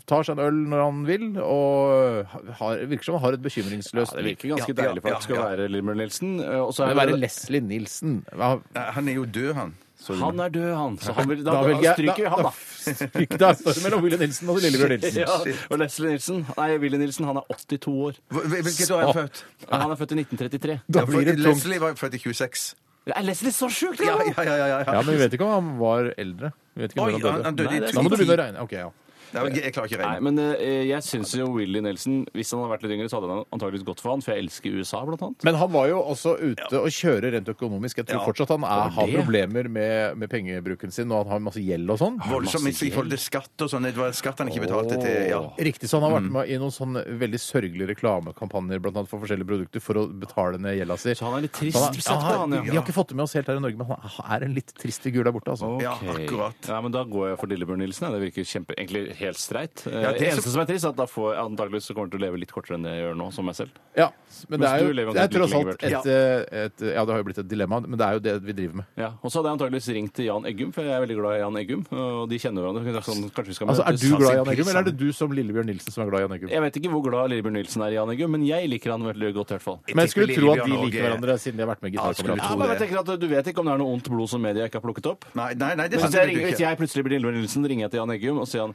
S3: tar seg en øl når han vil, og eh, har, virker som han har et
S4: Ja,
S3: bekymringsløst
S4: det virker ganske
S5: Ja, ja,
S4: deilig for at det skal
S5: ja, ja.
S4: være Lillebjørn Nilsen. eh, Og
S3: Det
S4: så er
S3: vil være
S4: det-
S3: Leslie Nilsen. Hva-
S5: Han er jo død, han.
S4: Han er død, han. Så han vil, da,
S3: Da
S4: da,
S3: velger jeg-
S4: stryker vi
S3: da-
S4: han, da.
S3: Stryk da, står det mellom Willy Nilsen og Lillebjørn Nilsen.
S4: Ja, og Leslie Nilsen Nei, Willy Nilsen, han er 82 år.
S5: Hva- Hvilket år er han født?
S4: Han er født i 1933.
S3: Da
S5: Ja, for
S3: blir det tungt.
S5: Leslie var født i 26.
S4: Er Leslie så sjuk,
S5: Ja,
S4: da?
S5: ja, ja. ja, ja.
S3: Ja, men vi vet ikke om han var eldre. Vi vet ikke
S5: Oi,
S3: når
S5: han, han
S3: han døde.
S5: døde i
S4: Nei, det er-
S3: Da må du
S5: 2010.
S3: begynne å regne. Ok, ja.
S5: Nei, men Jeg jeg klarer ikke å
S4: Nei,
S5: regne.
S4: men eh, jeg syns jo Willy Nelson Hvis han hadde vært litt yngre, så hadde han antakeligvis gått for han, for jeg elsker USA, blant annet.
S3: Men han var jo også ute og kjører rent økonomisk. Jeg tror
S5: Ja.
S3: fortsatt han er, har
S4: det?
S3: problemer med, med pengebruken sin, og han har masse gjeld og sånn.
S5: Voldsomt i forhold til skatt og sånn. Det var skatt han ikke betalte til. ja.
S3: Riktig, så han har
S4: Mm.
S3: vært med i noen sånne veldig sørgelige reklamekampanjer blant annet for forskjellige produkter for å betale ned gjelda si.
S4: Så han er litt trist
S3: Så han er-
S4: sett på, han, ja.
S3: Vi har ikke fått det med oss helt her i Norge, men han er en litt trist figur der borte, altså.
S5: Ja,
S4: Ok.
S5: akkurat.
S4: Nei, men Da går jeg for Lillebjørn Nilsen. Ja. Det virker kjempe, egentlig helt streit. Eh,
S3: Ja, det
S4: det,
S3: er så-
S4: eneste som er trist, er at da får jeg antakeligvis så kommer jeg til å leve litt kortere enn det jeg gjør nå, som meg selv.
S3: Ja, men det
S4: Mens
S3: er
S4: du lever
S3: jo det er
S4: omtrent
S3: tross
S4: like
S3: alt
S4: lenge,
S3: et, eh, et Ja, det har jo blitt et dilemma, men det er jo det vi driver med.
S4: Ja, Og så hadde jeg antakeligvis ringt til Jan Eggum, for jeg er veldig glad i Jan Eggum. Og de kjenner hverandre. så Sånn, kanskje vi skal
S3: Altså, Er
S4: møtes.
S3: du glad i Jan Eggum, eller er det du som Lillebjørn Nilsen som er glad i Jan Eggum?
S4: Jeg vet ikke hvor glad Lillebjørn Nilsen er i Jan Eggum, men jeg liker han veldig godt. i hvert fall.
S3: Men jeg skulle tro at de liker hverandre siden de har vært med
S4: Ja, skulle tro
S3: gitarkamerater.
S4: det. jeg tenker at eh, Du vet ikke om det er noe ondt blod som media ikke har plukket opp?
S5: Nei, nei, nei det
S4: Hvis
S5: synes
S4: jeg,
S5: jeg
S4: ringer,
S5: ikke.
S4: hvis jeg plutselig blir Lillebjørn Nilsen, ringer jeg til Jan Eggum og sier han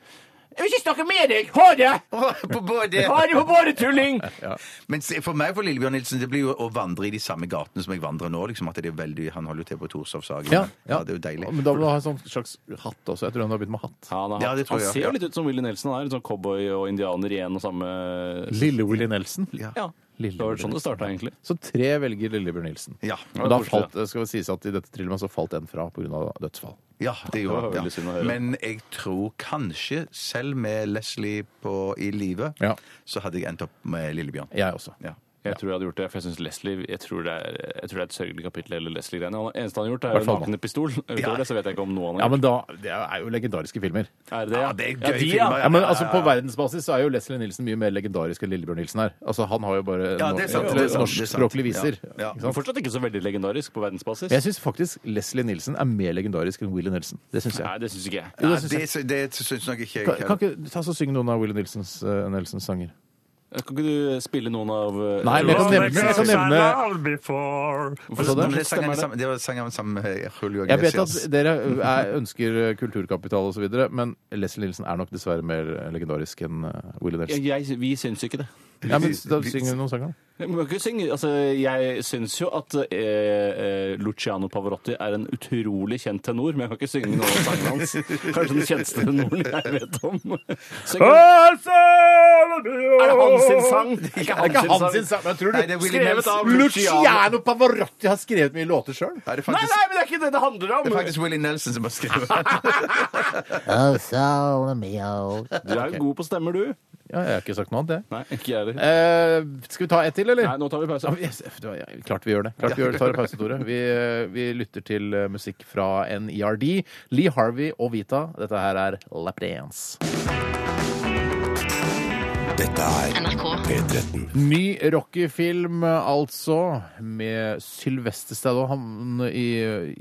S7: Jeg vil ikke snakke med deg! Ha det!
S5: På både.
S7: Ha det på bare tulling!
S5: Men se, for meg og for Lillebjørn Nilsen, det blir jo å vandre i de samme gatene som jeg vandrer nå. liksom at det er veldig, Han holder jo til på Torshovshagen.
S3: Ja, ja.
S5: Det er jo deilig.
S3: Men da må du ha en sånn slags hatt også. Jeg tror han har begynt med hatt.
S4: ja, han, har,
S5: Ja, det tror
S4: han
S5: jeg,
S4: ser
S5: ja.
S4: jo litt ut som Willy Nelson. Han er litt sånn cowboy og indianer i en og samme
S3: Lille Willy Nelson.
S4: Ja. Det var vel sånn det starta, egentlig.
S3: Så tre velger Lillebjørn Nilsen.
S5: Ja,
S3: Og da falt, det skal sies at i dette trillet så falt en fra pga. dødsfall.
S5: Ja, det gjorde
S4: Det var
S5: han.
S4: veldig synd å
S5: Ja.
S4: høre.
S5: Men jeg tror kanskje, selv med Leslie på, i live,
S3: Ja.
S5: så hadde jeg endt opp med Lillebjørn.
S3: Jeg også.
S5: Ja.
S4: Jeg tror jeg hadde gjort det, for jeg synes Leslie jeg tror, det er, jeg tror det er et sørgelig kapittel. Eller Leslie-greiene Han- eneste han har gjort, er
S3: Hvert
S4: jo
S3: fall,
S4: nakne pistol. Utover
S5: Ja.
S4: det så vet jeg ikke om noe han
S3: Ja,
S4: har gjort.
S3: men da, Det er jo legendariske filmer.
S4: Er det det?
S5: Ja, det er
S4: de,
S5: gøy filmer,
S3: Ja, men altså På verdensbasis så er jo Leslie Nilsen mye mer legendarisk enn Lillebjørn Nilsen er. Altså Han har jo bare
S5: Ja, det er sant, det er sant, det er sant.
S3: norskspråklige viser.
S5: Ja, ja.
S3: Ikke
S4: Men
S3: sant?
S4: fortsatt ikke så veldig legendarisk på verdensbasis.
S3: Jeg syns faktisk Leslie Nilsen er mer legendarisk enn Willy Nelson. Det synes jeg.
S4: Nei, det syns ikke jeg.
S3: Jo,
S5: Nei,
S3: det synes jeg.
S5: det, sy- det syns nok ikke jeg.
S3: Kan, kan
S5: heller.
S3: ikke ta så synge noen av Willy Nelsons, eh, Nelsons sanger?
S4: Kan ikke du spille noen av eh,
S3: Nei, men jeg kan nevne, jeg kan nevne Hva sa
S5: Men
S3: du?
S5: det er sang av- Det var sang av sammen med eh, Julio
S3: Jeg vet at
S5: Iglesias.
S3: dere eh, er, ønsker eh, kulturkapital osv., men Leslie Nilsen er nok dessverre mer legendarisk enn eh, Willy
S4: Jeg,
S3: Nelson.
S4: jeg, vi syns ikke det.
S3: Ja, men Da synger du noen sanger, da.
S4: Men man kan ikke synge, altså, jeg syns jo at eh, eh, Luciano Pavarotti er en utrolig kjent tenor, men jeg kan ikke synge noen av sangene hans. Kanskje den kjenteste tenoren jeg vet om. Så jeg kan- Er det hans sin sang? Ikke
S3: Det er ikke hans sin
S4: sang.
S3: sang, men tror
S5: Nei, det er
S3: du
S5: Willy
S3: skrevet
S5: Nelson.
S3: av Luciano Pavarotti har skrevet mye låter sjøl?
S5: Nei, det er
S4: Nei,
S5: faktisk,
S4: nei, men det er ikke det det handler om!
S5: det er faktisk Willy Nelson som har
S3: [laughs]
S5: skrevet
S4: Du er jo god på stemmer, du.
S3: Ja, jeg har ikke sagt noe annet, jeg.
S4: Nei, ikke jeg heller.
S3: Eh, skal vi ta ett til, eller?
S4: Nei, nå tar vi pause.
S3: Eh, Ja, men yes, det var- ja, klart vi gjør det. Klart vi gjør det. Tar en pause, Tore. Vi, eh, vi lytter til eh, musikk fra NERD. Lee Harvey og Vita. Dette her er Lapdance.
S6: Dette er P13.
S3: Ny rockefilm, altså, med Sylvester Stallone han, i,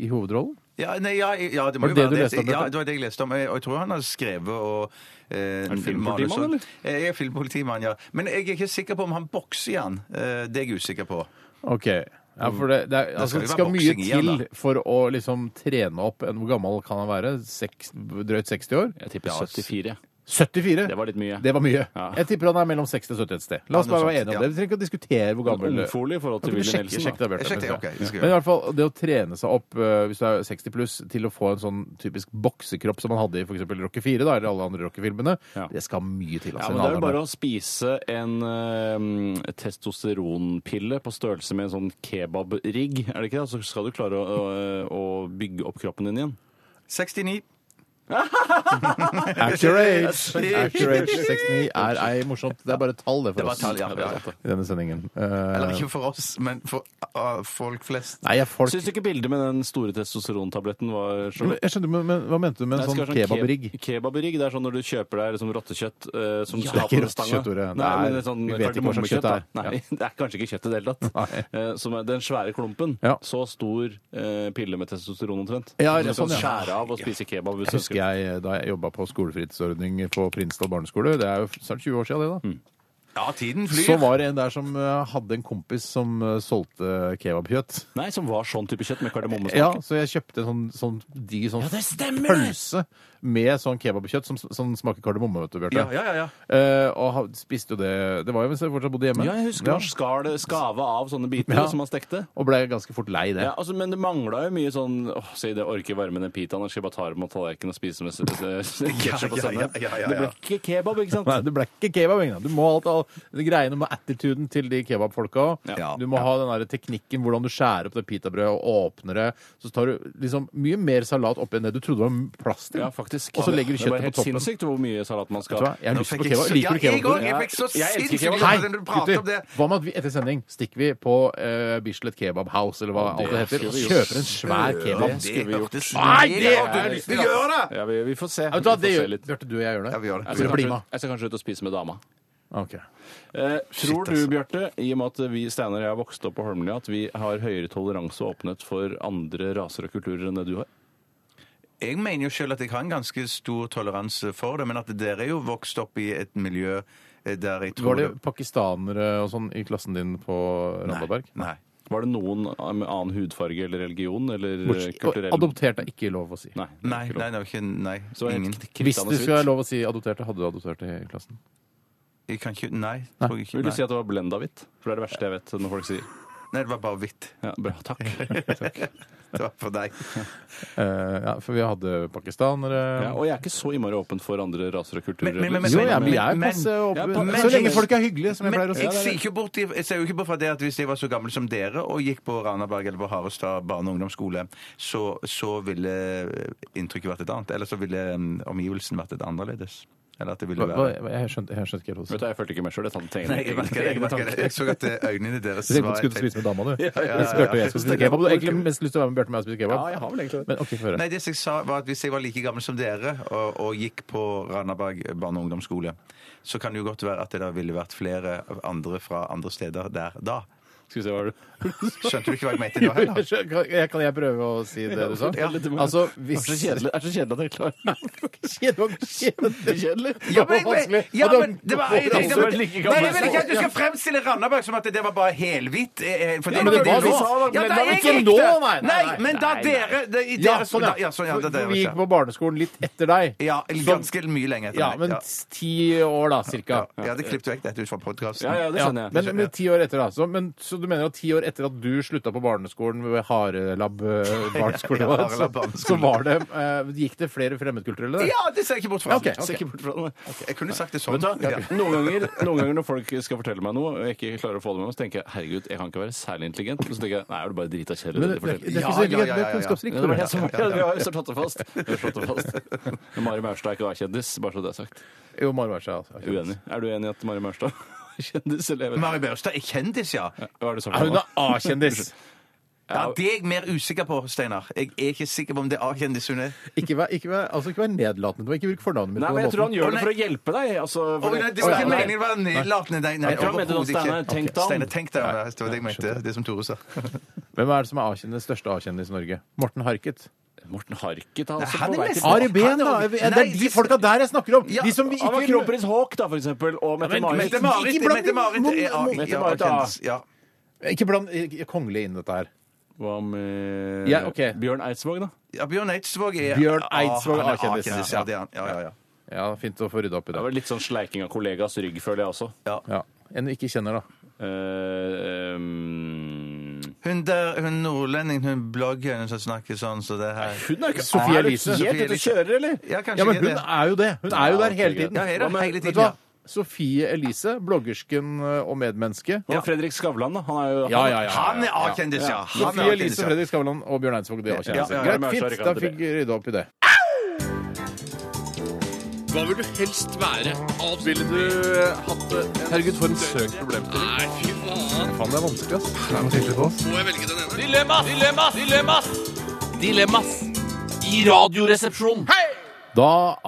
S3: i hovedrollen.
S5: Ja, nei, ja, ja, det må
S3: Var det
S5: jo
S3: det
S5: være
S3: du
S5: det.
S3: leste om dette?
S5: Ja, det var det jeg leste om. Og jeg- og jeg tror han har skrevet og eh, Er
S4: du filmpolitimann, eller?
S5: Jeg er filmpolitimann, ja. Men jeg er ikke sikker på om han bokser i han. Eh, Det er jeg usikker på.
S3: Ok. Ja, for det, det, er, altså,
S5: skal jo
S3: det
S5: være
S3: skal mye
S5: boksing igjen, da.
S3: til for å liksom trene opp en Hvor gammel kan han være? Seks, drøyt 60 år?
S4: Jeg tipper 74. jeg.
S3: 74?
S4: Det var litt mye.
S3: Det var mye.
S4: Ja.
S3: Jeg tipper han er mellom 60 og 70 et sted. La oss
S5: Ja, noe
S3: bare være
S5: sånt,
S3: enige om
S5: ja.
S3: det. Vi trenger ikke å diskutere hvor gammel
S4: Ungfolig i forhold til
S3: Vi
S4: Willy
S3: sjekker-
S4: Nelson.
S3: sjekker det, Bjarte.
S5: Jeg sjekker det, ok, det skal jeg
S3: Men i hvert fall, det å trene seg opp eh, hvis du er 60 pluss, til å få en sånn typisk boksekropp som man hadde i f.eks. Rocky 4 da, eller alle andre Rocky-filmene,
S4: Ja.
S3: det skal mye til.
S4: Ja,
S3: Altså,
S4: men
S3: en
S4: Det er jo
S3: annen
S4: bare å spise en eh, testosteronpille på størrelse med en sånn kebabrigg, er det ikke det? Så skal du klare å, å, å bygge opp kroppen din igjen.
S5: 69.
S3: Accurate! Accurate 69 er ei morsomt. Det er bare tall, det,
S5: Det
S3: for
S5: var
S3: oss.
S5: tall, ja. ja, ja.
S3: I denne sendingen. Eh,
S5: Eller ikke for oss, men for ah, folk flest.
S3: Nei, jeg, folk...
S4: Syns du ikke bildet med den store testosterontabletten var så
S3: Men Jeg skjønner, men, men hva mente du med
S4: Nei,
S3: en
S4: det skal
S3: sånn
S4: være
S3: kebabrigg?
S4: keb- Kebabrigg, Det er sånn når du kjøper deg liksom rottekjøtt eh, som
S3: Ja,
S4: skal
S3: det er ikke
S4: på stanga.
S3: rottekjøtt, Tore.
S4: Nei,
S3: Det er-
S4: men det er sånn
S3: vi vet ikke hva slags kjøtt
S4: kardemommekjøtt,
S3: det er.
S4: da. Nei, [laughs] det er kanskje ikke kjøtt i det hele tatt. Eh, Som er den svære klumpen.
S3: Ja.
S4: Så stor eh, pille med testosteron omtrent.
S3: Ja,
S4: Som du
S3: sånn,
S4: kan
S3: ja.
S4: skjære av og spise kebab.
S3: Jeg
S4: hvis du
S3: husker jeg, da jeg jobba på skolefritidsordning på Prinsdal barneskole. Det er jo snart 20 år siden, det, da.
S5: Ja, tiden
S3: Så
S5: flyr.
S3: var det en der som eh, hadde en kompis som eh, solgte kebabkjøtt.
S4: Nei, som var sånn type kjøtt med kardemommesmak.
S3: Ja, så jeg kjøpte en sånn, sånn digg sånn pølse med sånn kebabkjøtt som, som smaker kardemomme, vet du, Bjarte.
S5: Ja, ja, ja, ja.
S3: Eh, og ha- spiste jo det Det var jo mens jeg fortsatt bodde hjemme.
S4: Ja, jeg husker
S3: Ja.
S4: han skar det, skava av sånne biter
S3: Ja.
S4: som han stekte.
S3: Og ble ganske fort lei det.
S4: Ja, altså, men det mangla jo mye sånn åh, Si det orker varme den pitaen, skal jeg bare ta dem av tallerkenen og spise med ketsjup og
S3: [laughs]
S5: Ja, ja,
S4: sennep.
S5: ja, ja, ja, ja.
S4: Det ble ikke kebab, ikke sant?
S3: Nei, det ble ikke kebab. Ingrid. Du må alt, all, skal de greiene med attituden til de kebabfolka òg.
S4: Ja.
S3: Du må ha den der teknikken, hvordan du skjærer opp det pitabrødet og åpner det. Så tar du liksom mye mer salat oppi enn det du trodde var plass til.
S4: Ja, faktisk.
S3: Og så legger du
S4: Det er
S3: kjøttet
S4: bare
S3: på
S4: helt
S3: toppen.
S4: sinnssykt hvor mye salat man
S3: Vet
S4: skal
S3: du hva? Jeg har
S4: Nå
S3: lyst
S4: fikk
S3: på
S4: jeg
S3: kebab.
S4: så-
S3: Liker du
S4: Ja,
S3: kebab?
S4: jeg
S3: Jeg
S4: òg.
S3: fikk
S8: så
S4: elsker
S8: sinnssykt
S4: kebab.
S8: lyst
S3: Hei,
S8: Nei, når du prater om
S3: gutter!
S8: det.
S3: Hva med at vi etter sending stikker vi på eh, Bislett Kebab House, eller hva
S4: Det
S3: alt det heter,
S4: skulle
S3: og
S4: vi gjort.
S3: kjøper en svær
S4: Det
S3: kebab?
S4: skulle vi gjort.
S3: Nei, det
S8: har du lyst til å gjøre! det!
S4: Ja, vi, vi får se.
S3: Ja, Vet du hva,
S4: Vi
S3: det
S4: får se
S3: gjør
S4: litt.
S3: Bjarte, du og jeg gjør det.
S5: vi gjør det.
S4: Jeg
S3: Vil
S4: skal,
S3: du bli med?
S4: kanskje,
S3: Ah,
S4: ut- jeg skal kanskje ut og spise med dama.
S3: Ok.
S4: Eh, tror
S3: altså.
S4: du, Bjarte, i og med at vi Steinar og jeg har vokst opp på Holmlia, at vi har høyere toleranse og åpenhet for andre raser og kulturer enn det du har?
S5: Jeg mener jo selv at jeg har en ganske stor toleranse for det, men at dere er jo vokst opp i et miljø eh, der jeg tror
S3: Var det pakistanere og sånn i klassen din på Randaberg?
S5: Nei.
S4: Var det noen med annen hudfarge eller religion eller eh,
S3: Bortsett-
S4: kulturell
S3: Adoptert er ikke lov å si.
S4: Nei.
S5: Nei, nei, det var ikke Nei.
S4: Så helt
S5: Ingen.
S4: kn-
S3: Hvis
S4: knirkende
S3: det skulle
S4: svitt.
S3: være lov å si adopterte, hadde du adopterte i klassen?
S5: Jeg kan ikke Nei. Tror jeg ikke,
S4: Vil du si
S5: nei.
S4: at det var blenda hvitt? For det er det verste jeg vet når folk sier.
S5: nei, det var bare hvitt.
S4: Ja, bra,
S5: [laughs]
S4: takk.
S5: Det var for deg.
S3: Eh, ja, for vi hadde pakistanere
S4: Ja, og jeg er ikke så innmari åpen for andre raser og kulturer.
S5: Men- men- men-
S3: Jo, jeg, men jeg er
S5: Men-
S3: passe åpen.
S4: men-
S3: Så lenge folk er hyggelige, som jeg
S5: Men
S3: pleier å si.
S5: jeg sier ikke bort, jeg ser jo ikke bort fra det at hvis jeg var så gammel som dere og gikk på Randaberg eller på Harestad barne- og ungdomsskole, så, så ville inntrykket vært et annet. Eller så ville mm, omgivelsen vært et annerledes. Eller at det ville
S3: Hva-
S5: være
S3: hva- Jeg skjønte jeg skjønte ikke helt hva du sa.
S4: Vet du, jeg følte ikke meg sjøl. Jeg tar
S5: Nei, jeg merker det. Jeg,
S4: egne
S5: merker det.
S4: tanker.
S5: jeg så at eh, øynene deres
S3: Du tenkte at du skulle spise med dama,
S4: [laughs]
S3: du. Jeg spurte om jeg skulle spise kebab. Du har egentlig mest lyst til å være med Bjarte og meg og spise kebab.
S4: Ja, jeg har vel egentlig det.
S3: Men ok, få høre.
S5: Nei, det som jeg sa var at Hvis jeg var like gammel som dere og, og gikk på Randaberg barne- og ungdomsskole, så kan det jo godt være at det da ville vært flere av andre fra andre steder der da.
S4: Skal vi se hva er det [laughs]
S5: Skjønte du ikke hva jeg mente nå heller?
S3: Kan jeg- Kan jeg prøve å si det du sa?
S5: Ja.
S3: Altså, hvis
S4: Det er så kjedelig, det er så kjedelig at jeg klarer det.
S3: Kjedelig. Kjedelig.
S5: Ja, men, men, ja, men det var jeg, jeg,
S4: Hvorfor er
S5: jeg,
S4: det like
S5: Nei,
S4: gammelt
S5: jeg vil ikke at du skal fremstille Randaberg som at det var bare helhvitt. eh, eh, for
S3: Ja, men det
S5: var
S3: var
S5: det
S3: vi
S5: nå.
S3: sa, da,
S5: Ja,
S3: men
S5: da
S3: det var
S5: jeg
S3: ikke
S5: gikk
S3: nå,
S5: der.
S3: nei, nei,
S5: Nei,
S3: nei,
S5: men da
S3: nei, nei.
S5: dere det- i
S3: Ja,
S5: deres-
S3: sånn,
S5: da- ja, sånn, ja,
S3: For-
S5: det
S3: for
S5: dere
S3: Vi
S5: sa.
S3: gikk på barneskolen litt etter deg.
S5: Ja, eller
S3: Så-
S5: ganske mye lenger etter
S3: Ja,
S5: meg,
S3: men
S5: ja.
S3: ti år, da, cirka.
S5: Jeg hadde klippet vekk dette ut fra podkasten.
S4: Ja, ja, det
S3: Ja,
S4: skjønner jeg.
S3: men, men ti år etter, da. Så, men, så du mener at ti år etter at du slutta på barneskolen ved Harelab eh, barneskole,
S5: Ja, Harelab
S3: så, så
S5: barneskole.
S3: var det, eh, gikk det flere fremmedkulturelle der?
S5: Ja, det ser jeg ikke bort fra.
S3: Ja, ok,
S4: Ser ikke bort fra det.
S5: Jeg kunne sagt det sånn.
S4: Vet du, hva?
S5: Ja.
S4: noen, ganger, noen ganger når folk skal fortelle meg noe, og jeg ikke klarer å få det med meg, så tenker jeg herregud, jeg kan ikke være særlig intelligent. Så tenker jeg nei, er du bare drita kjedelig?
S3: Men det,
S4: det du
S3: det, er- det er
S4: forteller?»
S3: ikke
S5: Ja,
S3: så
S5: ja,
S3: veldig
S5: ja,
S3: det er
S5: ja, ja.
S3: kunnskapsrikt.
S4: Ja, det var det som- ja, Vi har jo slått det fast. Vi har slått [laughs] det fast. Men Mari Maurstad er ikke å være kjendis, bare så det er sagt.
S3: Jo, Mari Wærstad. altså.
S4: Uenig. Er du enig i at Mari Maurstad er kjendis, eller? jeg vet ikke.
S5: Mari Børstad er kjendis, ja.
S4: Hva er det som
S3: Ja, Hun er A-kjendis.
S5: ja. Det er jeg mer usikker på, Steinar. Jeg er ikke sikker på om det er A-kjendis hun er.
S3: [laughs] Ikke vær, ikke vær, altså, ikke vær nedlatende. Du må Ikke bruk fornavnet mitt
S4: Nei,
S3: på den
S4: men jeg tror han
S3: måten.
S4: gjør det for å hjelpe deg. Altså,
S5: Å,
S4: for
S5: nei, det
S4: Å,
S5: var
S4: ja,
S5: ikke
S4: nei.
S5: meningen å være nedlatende. Nei, nei,
S4: Jeg tror han mente
S5: overhodet
S4: det, Steinar.
S5: ikke.
S4: Tenk
S5: Ok,
S4: deg om.
S5: Steinar, tenk deg om. ja, Det var det jeg mente. Det som Tore sa.
S3: Hvem er det som er A-kjendis, største A-kjendis i Norge? Morten Harket.
S4: Morten Harket er
S5: Nei,
S4: altså
S5: han
S4: på
S5: er
S4: vei
S5: mest-
S4: til
S3: Ari Behn,
S5: Han er-
S3: da! Det er
S5: Nei,
S3: de
S5: de-
S3: folka der jeg snakker om!
S5: Ja,
S3: De som vi
S4: Han var
S3: ikke
S4: kronprins Haak, da, for eksempel. Og Mette-Marit.
S5: Mette Marit
S3: ikke blant
S5: Mette Marit
S3: dem.
S5: er A-
S4: Mette
S5: ja,
S4: Marit er A.
S5: A-kjendis, ja.
S3: Ikke bland eh, kongelige inn i dette her.
S4: Hva med
S3: Ja, ok.
S4: Bjørn Eidsvåg, da?
S5: Ja, Bjørn Eidsvåg er
S3: Bjørn Eidsvåg er
S5: han er
S3: A-kjendis.
S5: A-kjendis, Ja, det er han. Ja, ja, ja.
S3: Ja, Fint å få rydda opp i
S4: Det
S3: det.
S4: var litt sånn sleiking av kollegas rygg, føler jeg også.
S3: Ja. En du ikke kjenner, da.
S4: Eh, ehm,
S5: Hun der, hun nordlendingen, hun blogger, hun som snakker sånn, så det her
S4: hun er ikke
S3: Sophie
S4: eh, Er du
S3: Elise.
S4: helt ute å kjøre, eller?
S5: Ja, kanskje
S3: Ja, men
S5: ikke
S3: hun
S5: det.
S3: er jo det! Hun er jo der hele tiden.
S5: Ja, hele-
S3: Hva med-
S5: hele tiden,
S3: vet du hva?
S5: ja.
S3: Sofie Elise, bloggersken eh, og medmenneske.
S4: Og Fredrik Skavlan, da. Han er jo
S3: Ja, ja, ja.
S5: Han er A-kjendis, ja! Han
S3: Sofie
S5: er
S3: Elise,
S5: A-kjendis, ja.
S3: Fredrik Skavlan og Bjørn Eidsvåg. Det var
S4: Ja,
S3: kjendis.
S4: ja, ja.
S3: Greit, fint. Da fikk vi rydda opp i det.
S7: Hva vil du helst være? Ville du hatt det?
S3: Herregud, for en søk problemstilling.
S7: Nei, fy faen.
S3: Faen, det er vanskelig, ass.
S7: Må jeg velge den ene? Dilemmas! Dilemmas! Dilemmas! Dilemmas i Radioresepsjonen.
S3: Da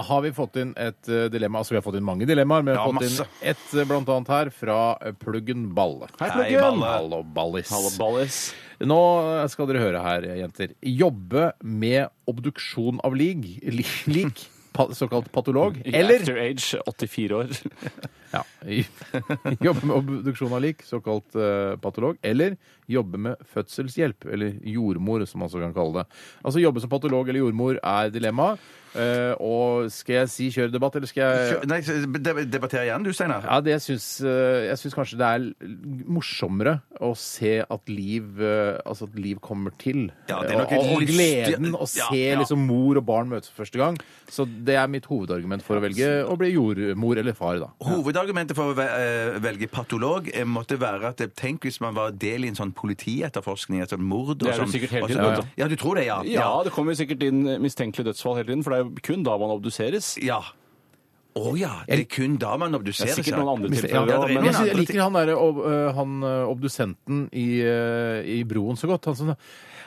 S3: har vi fått inn et eh, dilemma. Altså, vi har fått inn mange dilemmaer, men vi har
S5: Ja,
S3: fått
S5: masse.
S3: inn et eh, blant annet her fra eh, Pluggen Balle. Hei,
S5: Pluggen! Balle.
S3: Hallo, Ballis.
S4: Ballis.
S3: Nå eh, skal dere høre her, eh, jenter. Jobbe med obduksjon av lig, li- lik, pa, såkalt patolog, eller
S4: After age
S3: [laughs]
S4: 84 år.
S3: ja, i- [laughs] jobbe med obduksjon av lik, såkalt eh, patolog, eller jobbe med fødselshjelp, eller jordmor, som man også kan kalle det. Altså jobbe som patolog eller jordmor er dilemmaet. Eh, og skal jeg si kjør debatt, eller skal jeg
S5: Nei, deb- debatterer igjen du, Steinar.
S3: Ja, det syns, eh, jeg syns kanskje det er l- morsommere å se at liv, eh, altså at liv kommer til.
S5: Ja, det er nok
S3: og,
S5: et
S3: og
S5: livs-
S3: gleden å
S5: Ja,
S3: se
S5: ja.
S3: liksom mor og barn møtes for første gang. Så det er mitt hovedargument for å velge å bli jordmor eller far, da.
S5: Hovedargumentet argumentet for å ve- eh, velge patolog eh, måtte være at eh, tenk hvis man var del i en sånn politietterforskning, et sånt mord og
S4: Det er du
S5: sånn.
S4: sikkert hele
S5: og
S4: tiden,
S5: så-
S4: vet du.
S5: Ja, du tror det, ja.
S4: Ja, det kommer sikkert inn mistenkelige dødsfall hele tiden, for det er jo kun da man obduseres.
S5: Ja. Å ja, det er kun da man obduserer
S4: Det er sikkert noen andre tilfeller
S3: Ja, men
S4: også, men-
S3: jeg, sy- jeg liker han, der, ob, øh, han øh, obdusenten i, øh, i Broen så godt. Han som
S5: Han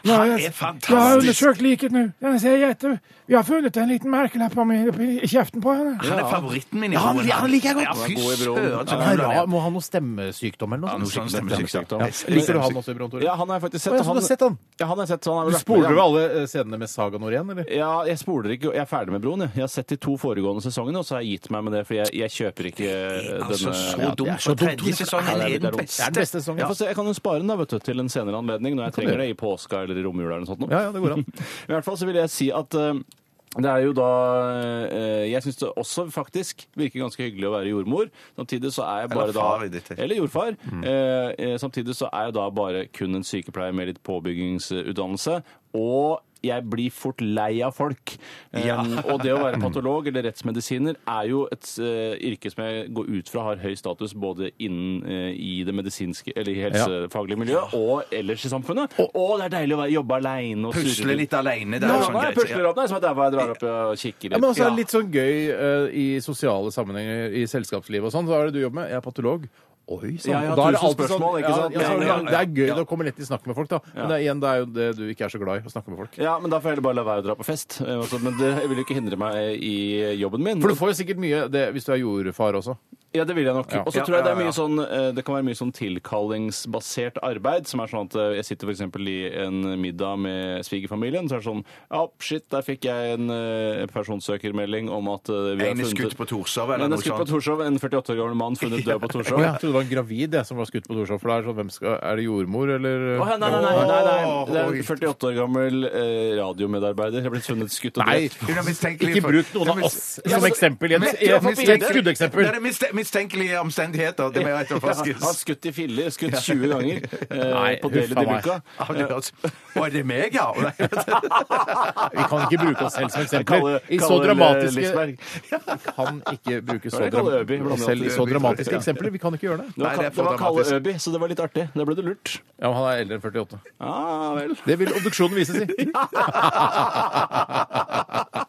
S3: jeg-
S5: er
S3: Jeg har
S5: fantastisk.
S3: undersøkt liket nå. Den ser jeg etter. Vi har funnet en liten merkelapp på min- oppi- i kjeften på henne.
S5: Han er favoritten min i
S3: Ja, han-
S5: Broen,
S3: ja, han liker jeg godt.
S5: Ja, fy
S4: Han er god i Broen.
S5: søren, så
S4: Ja,
S3: Han er
S5: kul han er.
S3: rar. Må han ha noe stemmesykdom eller noe?
S5: noe sånn stemmesykdom.
S4: Ja.
S3: Ja. Liker du han også i Broen, Tore?
S4: Ja, han har jeg faktisk sett.
S3: Å, ja, så du har sett han?
S4: Ja, han har jeg sett. så Han har
S3: Du
S4: vært med i
S3: spoler
S4: andre-
S3: jo alle øh, scenene med Saga Nord igjen, eller?
S4: Ja, jeg spoler ikke. Jeg er ferdig med Broen. jeg. Jeg har sett de to foregående sesongene, og så har jeg gitt meg med det, for jeg, jeg kjøper ikke denne
S5: Altså, så
S4: Ja, det er
S5: dumt.
S4: så
S5: For
S4: dumt.
S5: tredje sesongen
S4: Ja, det
S5: er
S4: det
S5: den
S4: dumt.
S5: beste.
S3: Det er den beste sesongen.
S4: Jeg, får se, jeg kan jo spare den da, vet du, til en senere anledning når jeg
S3: kan
S4: trenger
S3: du
S4: det, i påska eller i romjula eller noe sånt. nå.
S3: Ja, ja, det går an.
S4: [laughs] I hvert fall så vil jeg si at eh, det er jo da eh, Jeg syns det også faktisk virker ganske hyggelig å være jordmor. Samtidig så er jeg bare
S5: Eller far i
S4: da
S5: ditt tilfelle.
S4: Eller jordfar. Eh, eh, samtidig så er jeg da bare kun en sykepleier med litt påbyggingsutdannelse. Og jeg blir fort lei av folk.
S5: Ja.
S4: Eh, [laughs] og det å være patolog eller rettsmedisiner er jo et eh, yrke som jeg går ut fra har høy status både innen eh, i det medisinske eller i helsefaglige miljøet og ellers i samfunnet. Og, det er deilig å være, jobbe aleine og surre
S5: Pusle
S4: rundt.
S5: litt alene, det
S4: Ja,
S5: er jo
S4: nå
S5: sånn
S4: er jeg
S5: greit. ja.
S4: pusler opp, nei, som at det er hva jeg drar opp og kikker
S3: Ja, men også er det
S5: Ja.
S3: litt sånn gøy eh, i sosiale sammenhenger, i selskapslivet og sånn. Hva er det du jobber med? Jeg er patolog. Oi, sann.
S4: Ja, ja,
S3: Og da er det
S4: tusen
S3: alltid sånn-
S4: spørsmål, ikke sant?
S3: Ja, ja, så er det
S4: Ja,
S3: lang-
S4: ja,
S3: det
S4: ja.
S3: er gøy det å komme lett i snakk med folk, da. Men det er, igjen, det er jo det du ikke er så glad i, å snakke med folk.
S4: Ja, men da får jeg heller bare la være å dra på fest. Eh, altså, Men det vil jo ikke hindre meg i jobben min.
S3: For du får jo sikkert mye det, hvis du er jordfar også.
S4: Ja, det vil jeg nok.
S3: Ja.
S4: Og så
S5: Ja,
S4: tror jeg det,
S5: ja,
S4: er
S5: ja.
S4: mye sånn, eh, det kan være mye sånn tilkallingsbasert arbeid. Som er sånn at eh, jeg sitter f.eks. i en middag med svigerfamilien, så er det sånn Ja, shit, der fikk jeg en eh, personsøkermelding om at eh, vi har
S5: En er
S4: funnet
S5: skutt på Torshov, eller
S4: En
S5: noe
S4: er skutt på
S5: sånt.
S4: Torshov, en 48 år gammel mann funnet død på
S3: [laughs]
S4: Torshov.
S3: Jeg trodde det var en gravid jeg, som var skutt på Torshov. For det er sånn, hvem skal Er det jordmor, eller
S4: Å, ja, nei, nei, nei, nei, nei. Det er
S5: Oi.
S4: en 48 år gammel eh, radiomedarbeider. Jeg er blitt funnet skutt og
S3: Nei,
S4: drept.
S5: Hun er mistenkelig
S3: Ikke
S5: for-
S3: bruk noen
S5: Hun
S3: av
S5: er
S3: oss
S5: mis-
S3: som eksempel i et, i et, i et
S5: Det
S3: skuddeksempel.
S5: er miste- mistenkelige omstendigheter. Det må
S4: Ja,
S5: jeg
S4: han
S5: etterforskes.
S4: skutt i filler, skutt 20 ganger eh,
S3: Nei,
S4: på del
S3: huffa
S4: i
S3: meg.
S4: luka.
S5: Ja, det høres- Å, er det meg, ja? Å, nei.
S3: Vi kan ikke bruke oss selv som
S4: Kalle-
S3: eksempler. I så
S4: Kalle
S3: dramatiske
S4: eh, Lisberg.
S3: Vi kan ikke bruke
S4: Hva
S3: så
S4: er det Kalle
S3: dram-
S4: Øby?
S3: oss selv i så dramatiske eksempler. Vi kan ikke gjøre
S4: Det
S3: det.
S4: var,
S5: Nei, det er for
S4: det var Kalle
S5: dramatisk.
S4: Øby, så det var litt artig. Da ble det lurt.
S3: Ja, men Han er eldre enn 48.
S4: Ah, vel.
S3: Det vil obduksjonen vise,
S5: [laughs]
S3: si. [laughs]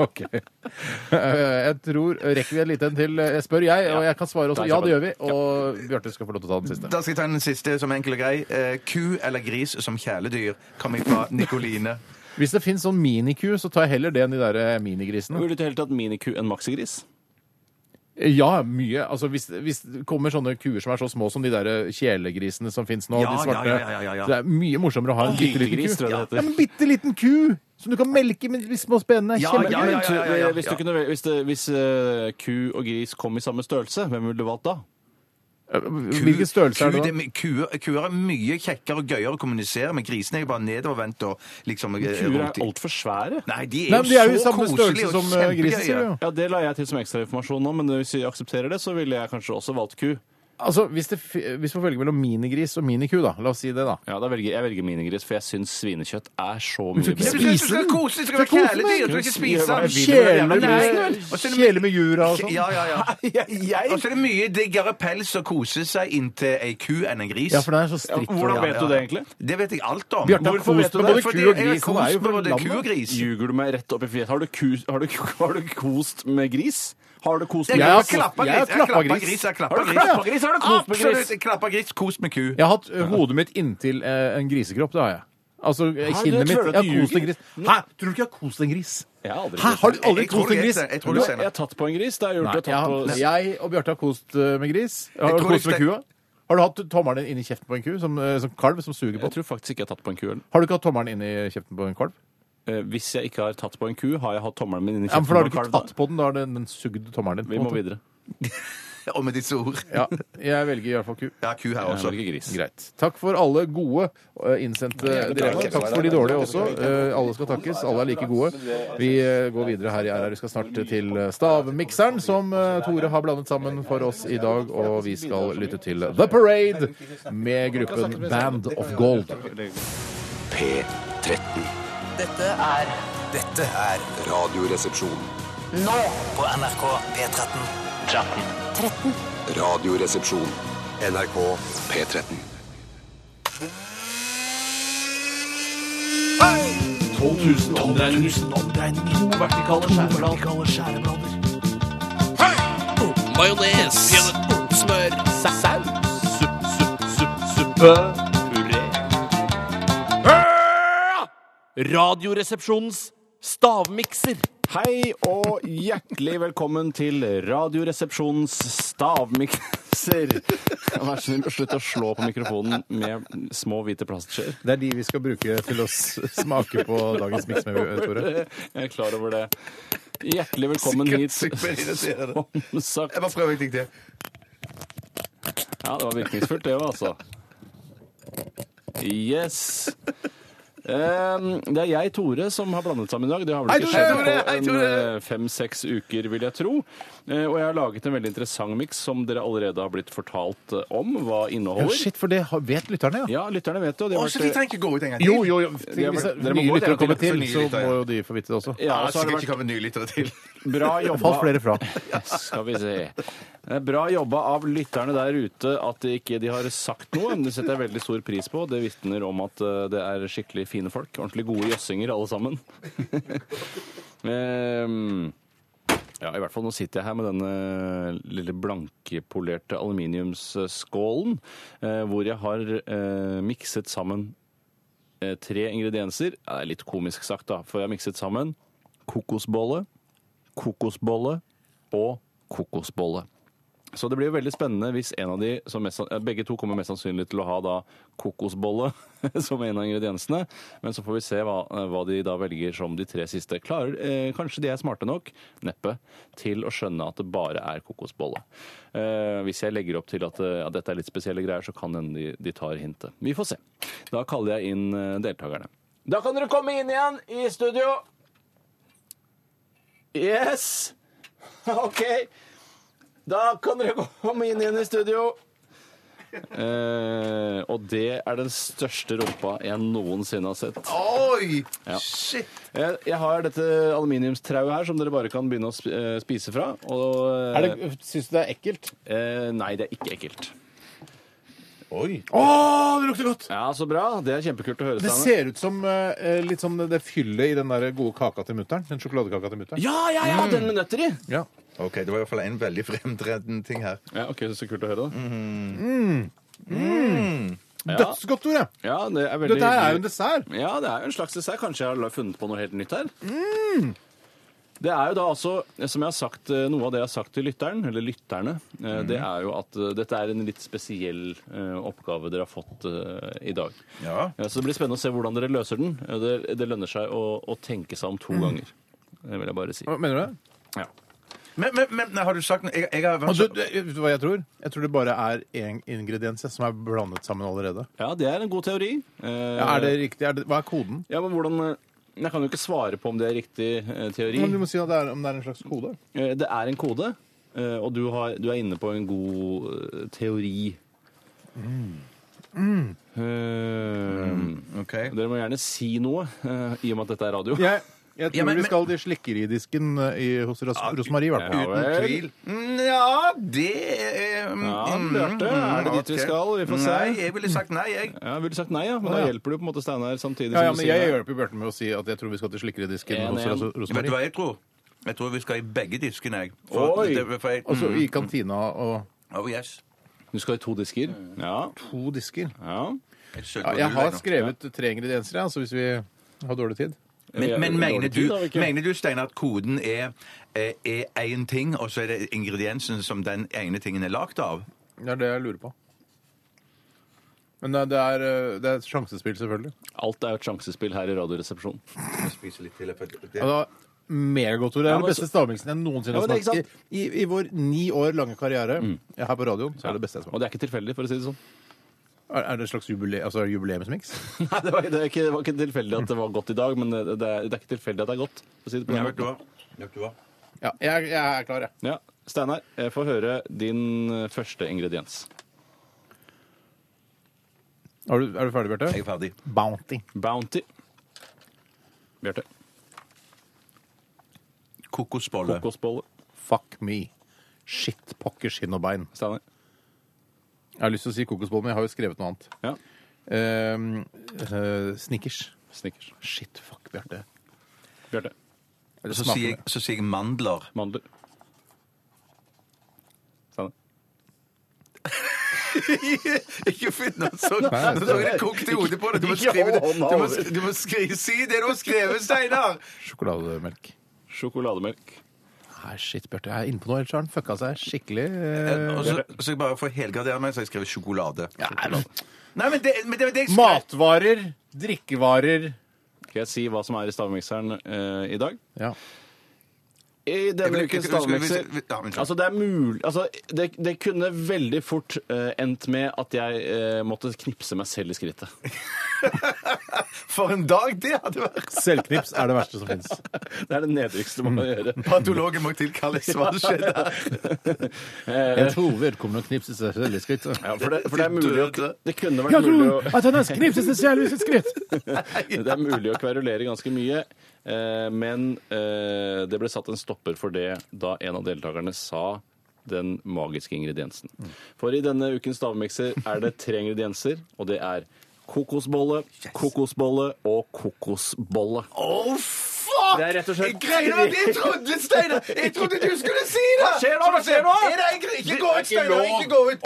S3: OK. Eh, Jeg tror Rekker vi en liten til? Jeg spør, jeg, og jeg kan svare også. Ja, det gjør vi. Og Bjarte skal få lov til å ta den siste.
S5: Da skal jeg ta den siste som er enkel og grei. Eh, Ku eller gris som kjæledyr kommer fra Nikoline.
S3: Hvis det fins sånn miniku, så tar jeg heller det enn de der eh, minigrisene.
S4: Ville du heller tatt miniku enn maxigris?
S3: Eh, Ja, mye. Altså, hvis, hvis det kommer sånne kuer som er så små som de der kjælegrisene som fins nå,
S5: Ja,
S3: de svarte
S5: ja, ja, ja, ja, ja.
S3: Så Det er mye morsommere å ha en bitte liten
S4: Hylegris,
S3: ku.
S4: tror jeg det heter.
S3: Ja, en bitte liten ku som du kan melke med de små spenene.
S5: Ja,
S3: Kjempe-
S5: ja, ja, ja, ja, ja.
S4: Hvis, du kunne, vel- hvis, det, hvis eh, ku og gris kom i samme størrelse, hvem ville du valgt da?
S5: Ku-
S3: [laughs] Eh, Hvilken størrelse er
S5: ku,
S3: det?
S5: det
S3: da?
S5: my- Kuer, kuer er mye kjekkere og gøyere å kommunisere med. Grisene er jo bare nedovervendt og liksom
S4: Kuer er
S5: rundt i-
S4: altfor svære.
S5: Nei, de er
S3: Nei,
S5: jo
S3: men De er jo i
S5: så
S3: samme
S5: koselige
S3: størrelse
S5: og
S3: som eh, grisen, sier du
S5: kjempegøye.
S3: jo.
S4: Ja, Det la jeg til som ekstrainformasjon nå, men hvis vi aksepterer det, så ville jeg kanskje også valgt ku.
S3: Altså, hvis, det, fi- hvis man velger mellom minigris og miniku, da. La oss si det, da.
S4: Ja, da velger, Jeg velger minigris, for jeg syns svinekjøtt er så [laughs]
S3: skal
S4: mye
S3: ikke
S4: bedre.
S5: Ja, men Du du
S3: Spise
S5: skal
S3: den.
S5: kose, du
S3: Du
S5: skal være
S3: skal kose
S5: kjæledyr,
S3: meg.
S5: du skal ikke spise
S4: Hva er
S5: den.
S4: det vil du
S3: Kjæle med,
S5: Nei.
S3: grisen, vel? Kjæle med jura og sånn.
S5: Ja, ja, ja.
S4: jeg?
S5: Og så er det mye diggere pels å kose seg inntil ei ku enn en gris.
S3: Ja, for det er så strikt.
S4: Hvordan vet du det egentlig?
S5: Det vet jeg alt om.
S3: Bjarte har
S4: Hvorfor vet
S3: kost
S4: du
S3: med
S4: det?
S3: både
S5: Fordi
S3: ku og
S5: jeg har
S3: gris. Han
S5: kost
S3: er jo
S5: med
S3: fra
S5: både ku og
S3: landet.
S5: gris.
S4: Ljuger du meg rett opp i fjeset? Har, du kus- har, du- [laughs] har du kost med gris? Har du kost med
S5: Jeg
S3: Jeg
S5: har
S3: har
S5: klappa
S3: kost- jeg har
S5: gris. Jeg har
S3: klappa
S5: klappa
S3: gris.
S5: gris. Jeg har
S4: Har
S5: klappa
S4: du klappa gris? Har du kost med
S5: gris.
S4: gris?
S5: Absolutt. Jeg Klappa gris, kost med ku.
S3: Jeg har hatt ø, hodet mitt inntil ø, en grisegropp, det har jeg. Altså, ø, kinnet
S4: det
S3: mitt.
S4: føler
S3: Jeg
S4: du at
S3: har
S4: du
S3: kost en
S4: ljuger?
S3: gris. Hæ? Tror du ikke jeg har kost en gris?
S4: Jeg har aldri
S3: Hæ?
S4: kost-
S3: Har du aldri
S5: Jeg tror
S3: kost
S5: du
S3: en gris?
S5: vet det. Jeg tror
S4: Du
S5: du
S4: har-
S5: ser
S4: Jeg
S5: det.
S4: har tatt på en gris. Det har jeg
S3: Nei,
S4: gjort.
S3: jeg,
S4: jeg
S3: har,
S4: har tatt på...
S3: jeg og Bjarte har kost ø, med gris. Har du
S5: tror
S3: kost med
S5: ikke-
S3: kua? Har du hatt tommelen inni kjeften på en ku? Som, ø, som kalv som suger på?
S4: Jeg tror faktisk ikke jeg har tatt på en ku. eller?
S3: Har du ikke hatt tommelen inni kjeften på en kalv?
S4: Eh, Hvis jeg ikke har tatt på en ku, har jeg hatt tommelen min inni
S3: Ja, men for da har
S4: kjeften
S3: du ikke
S4: på en kalv.
S3: tatt på den, da har den, den sugd tommelen din. på
S4: Vi
S3: en
S4: må
S3: måte.
S4: videre.
S5: Og med disse ord.
S3: Ja, jeg velger i hvert fall ku.
S5: Ja, ku her
S4: Jeg
S5: også.
S4: velger gris.
S3: Greit. Takk for alle gode eh, innsendte dilemmaer. Takk for de dårlige også. Eh, Alle skal takkes. Alle er like gode. Vi eh, går videre her i RR. Vi skal snart eh, til stavmikseren, som eh, Tore har blandet sammen for oss i dag. Og vi skal lytte til The Parade med gruppen Band of Gold.
S6: P13.
S9: Dette er
S6: Radioresepsjon.
S9: nå på NRK P13. 13.
S10: 13.
S6: Radioresepsjon. NRK P13.
S7: 12 000 omdreininger. To vertikale skjæreblader. Majones. Smør. Saus. Supp, supp, supp, suppe. Puré. Radioresepsjonens stavmikser.
S4: Hei og hjertelig velkommen til Radioresepsjonens stavmikser.
S7: [laughs]
S4: Vær så snill, slutt å slå på mikrofonen med små hvite plastskjeer.
S3: Det er de vi skal bruke til å s- smake på dagens miks med, eh, Tore.
S4: [laughs] Jeg er klar over det. Hjertelig velkommen hit. [laughs] Som sagt.
S5: Jeg bare prøver en ting til.
S4: Ja, det var virkningsfullt, det var altså. Yes. Ehm, det er jeg, Tore, som har blandet sammen i dag. Det har vel ikke
S5: Hei,
S4: skjedd
S5: Tore!
S4: på
S5: Hei,
S4: en
S5: Tore!
S4: eh, fem-seks uker, vil jeg tro. Eh, og jeg har laget en veldig interessant miks som dere allerede har blitt fortalt eh, om hva
S3: Ja,
S4: inneholder.
S3: shit, for det har- vet lytterne, ja.
S4: Ja, lytterne vet det. Og de har
S5: Å, så vi
S4: vært,
S5: trenger ikke gå ut en gang til.
S3: Jo, jo, jo.
S4: De har
S3: Hvis
S4: vært-
S3: det
S4: dere
S3: er
S4: må
S3: nye
S4: gå
S3: lyttere
S4: til-
S3: kommer
S5: for
S3: til,
S5: nye
S3: så
S5: lyttere, ja.
S3: må jo de få vite det også.
S4: eh, ja, og så har
S5: sikkert
S4: det
S5: ikke kommet nye lyttere til.
S4: vært bra
S3: Det
S4: jobba.
S3: falt flere fra.
S4: Skal vi se. Det er bra jobba av lytterne der ute at de ikke de har sagt noe. men Det setter jeg veldig stor pris på. Det vitner om at eh, det er skikkelig fine folk. Ordentlig gode jøssinger, alle sammen. [laughs] Ehm, ja, i hvert fall nå sitter jeg her med denne eh, lille blankepolerte aluminiumsskålen, eh, hvor jeg har eh, mikset sammen eh, tre ingredienser. Ja, Det er litt komisk sagt, da, for jeg har mikset sammen kokosbolle, kokosbolle og kokosbolle. Så det blir jo veldig spennende hvis en av de som mest, eh, Begge to kommer mest sannsynlig til å ha da kokosbolle [laughs] som en av ingrediensene. Men så får vi se hva, eh, hva de da velger som de tre siste. Klarer, eh, kanskje de er smarte nok, neppe, til å skjønne at det bare er kokosbolle. Eh, hvis jeg legger opp til at eh, ja, dette er litt spesielle greier, så kan hende de, de tar hintet. Vi får se. Da kaller jeg inn eh, deltakerne. Da kan dere komme inn igjen i studio. Yes! [laughs] OK. Da kan dere komme inn igjen i studio. Eh, og det er den største rumpa jeg noensinne har sett.
S5: Oi!
S4: Ja.
S5: Shit!
S4: Jeg, jeg har dette aluminiumstrauet her som dere bare kan begynne å sp- eh, spise fra. Og, eh,
S3: Syns du det [laughs] er ekkelt?
S4: eh, nei, det er ikke ekkelt.
S3: Oi. Å, det lukter godt!
S4: Ja, Så bra. Det er kjempekult å høre.
S3: Det
S4: Steinar.
S3: ser ut som eh, litt som det, det fyllet i den der gode kaka til mutter'n. Den sjokoladekaka til mutter'n.
S4: Ja, ja, ja! Den
S3: Mm.
S4: med nøtter i.
S3: Ja.
S5: OK, det var i hvert fall en veldig fremtredende ting her.
S4: Ja, ok, Så kult å høre, da. Ja.
S3: Dødsgodt, Tore!
S4: Ja, det er veldig
S3: Dette her er jo
S4: hyggelig.
S3: en dessert.
S4: Ja, det er jo en slags dessert. Kanskje jeg har funnet på noe helt nytt her.
S3: Mm.
S4: Det er jo da altså, som jeg har sagt, eh, Noe av det jeg har sagt til lytteren, eller lytterne, eh,
S3: Mm.
S4: det er jo at eh, dette er en litt spesiell eh, oppgave dere har fått eh, i dag.
S5: Ja.
S4: Ja, så Det blir spennende å se hvordan dere løser den. Eh, Det, det lønner seg å, å tenke seg om
S3: Mm.
S4: to ganger. Det vil jeg bare si.
S3: Hva mener du det?
S4: Ja.
S5: Men, men, men har du sagt noe? Jeg, jeg har
S3: Og Du,
S4: Altså,
S3: du, vet du hva jeg tror? Jeg tror det bare er én ingrediens ja, som er blandet sammen allerede.
S4: ja, det er en god teori. Eh,
S3: Ja, er det riktig? Er det, hva er koden?
S4: Ja, men hvordan... eh, Jeg kan jo ikke svare på om det er riktig eh, teori.
S3: Men du må si at det er, om det er en slags kode.
S4: Eh, Det er en kode, eh, og du, har, du er inne på en god eh, teori. Mm. Eh, Dere må gjerne si noe, eh, i og med at dette er radio.
S3: Jeg, jeg tror
S5: Ja, men-
S3: vi skal til slikkeridisken eh, i, hos Ros Rosmarie, i hvert fall.
S4: Ja, vel.
S5: Ja, det eh, mm,
S4: Ja, Bjarte, er det dit vi
S5: ok.
S4: skal? Vi får se.
S5: Nei, jeg ville sagt nei, jeg.
S4: Ja, jeg ville sagt nei, ja, men
S3: Å,
S4: da
S3: ja.
S4: hjelper du på en måte Steinar samtidig.
S3: Ja, ja,
S4: som
S3: men
S4: du sier
S3: jeg
S4: nei.
S3: hjelper Bjarte med å si at jeg tror vi skal til slikkeridisken
S4: En,
S3: hos
S4: en.
S3: Ros
S5: Vet du
S3: Rosmarie.
S5: hva jeg tror? Jeg tror vi skal i begge diskene, jeg. For,
S4: Oi!
S5: Det, for jeg
S3: Og så i kantina og
S5: oh, yes.
S4: Du skal i to disker? Ja.
S3: to disker.
S4: ja.
S5: Jeg, søker
S3: Ja, jeg
S5: på du
S3: har
S5: her nå.
S3: skrevet tre ingredienser, ja, så hvis vi har dårlig tid
S5: Men,
S4: Vi er-
S5: men mener,
S4: dårlig tid, har vi
S5: du,
S4: ikke?
S5: mener du, Steinar, at koden er eh, er én ting, og så er det ingrediensen som den ene tingen er lagd av?
S3: Det er det jeg lurer på. Men det det er, eh, det er et sjansespill, selvfølgelig.
S4: Alt er jo et sjansespill her i Radioresepsjonen.
S5: Jeg spiser litt til. jeg får- det-
S3: Ja, da, megagodt, Tore. Det
S4: Ja,
S3: er den
S4: men
S3: beste stavmiksen jeg noensinne
S4: Ja,
S3: har
S4: men det er
S3: smakt. I, I i vår ni år lange karriere Mm. ja, her på radioen så er det det beste jeg
S4: Og
S3: smaker.
S4: det er ikke tilfeldig, for å si det sånn.
S3: Er, er det et slags jubile, altså, jubileumsmiks?
S4: [laughs] Nei, det var, det, er ikke, det var ikke tilfeldig at det var godt i dag, men det, det, er, det er ikke tilfeldig at det er godt. For å si det på den
S5: Ja,
S4: måten.
S5: vet du hva? Vet du hva?
S3: [laughs] Ja, jeg, jeg er klar, jeg.
S4: Ja, Steinar, jeg får høre din eh, første ingrediens.
S3: Er du, er du ferdig,
S5: Jeg
S3: Bjarte?
S5: er ferdig.
S3: Bounty.
S4: Bounty. Bjarte.
S5: Kokosbolle.
S4: Kokosbolle.
S3: Fuck me. Shit, pokker, skinn og bein.
S4: Steinar?
S3: Jeg har lyst til å si kokosbolle, men jeg har jo skrevet noe annet.
S4: Ja.
S3: Ehm, eh, Snickers.
S4: Snickers.
S3: Shit, fuck, Bjarte.
S4: Bjarte?
S3: Eller
S5: Så
S3: smaker
S5: sier, jeg, så sier jeg mandler.
S4: Mandler? Steinar?
S5: ikke finn noe sånt!
S3: Nei,
S5: Nå så jeg det kokte i hodet på
S3: [laughs]
S5: deg. Du må
S4: Ikke
S5: skrive det.
S4: hånda
S5: Du må,
S4: over.
S5: du må skrive, si det du har skrevet, Steinar!
S3: Sjokolademelk.
S4: Sjokolademelk?
S3: Nei, shit, Bjarte. altså. Jeg er inne på noe, ellers har den fucka seg skikkelig eh,
S5: Eh, Og så, så jeg bare får helgardere meg, så jeg skriver sjokolade. Nei, men det, men det, men det jeg skrev
S3: Matvarer, drikkevarer
S4: Skal jeg si hva som er i stavmikseren eh, i dag?
S3: Ja.
S4: I denne
S5: Jeg vil-
S4: ukens
S5: jeg- jeg- jeg- jeg-
S4: stavmikser
S5: jeg- ja, men-
S4: Altså, det er mulig altså, det, det kunne veldig fort eh, endt med at jeg eh, måtte knipse meg selv i skrittet. [laughs]
S5: For en dag det hadde vært!
S3: Selvknips er det verste som
S5: [laughs]
S3: fins.
S4: Det er det nedrykste man kan gjøre.
S5: Patologen må tilkalles. Hva skjedde? Eh.
S3: Jeg tror vedkommende knipser seg selv i skrittet.
S4: Ja, for det, for det er mulig å Det kunne vært
S3: Jeg
S4: mulig å
S3: tror at han knipser seg selv i sitt skritt.
S4: [laughs] Det er mulig å kverulere ganske mye, eh, men eh, det ble satt en stopper for det da en av deltakerne sa den magiske ingrediensen. For i denne ukens stavmikser er det tre ingredienser, og det er kokosbolle, kokosbolle og kokosbolle.
S5: Oh, fuck!
S4: Det er rett og slett-
S5: Jeg greier meg! Jeg trodde, Steinar! Jeg trodde du skulle si det! Hva
S4: skjer nå? Hva skjer nå?
S5: Er det en gre- Ikke gå ut, Steinar! Ikke gå ut!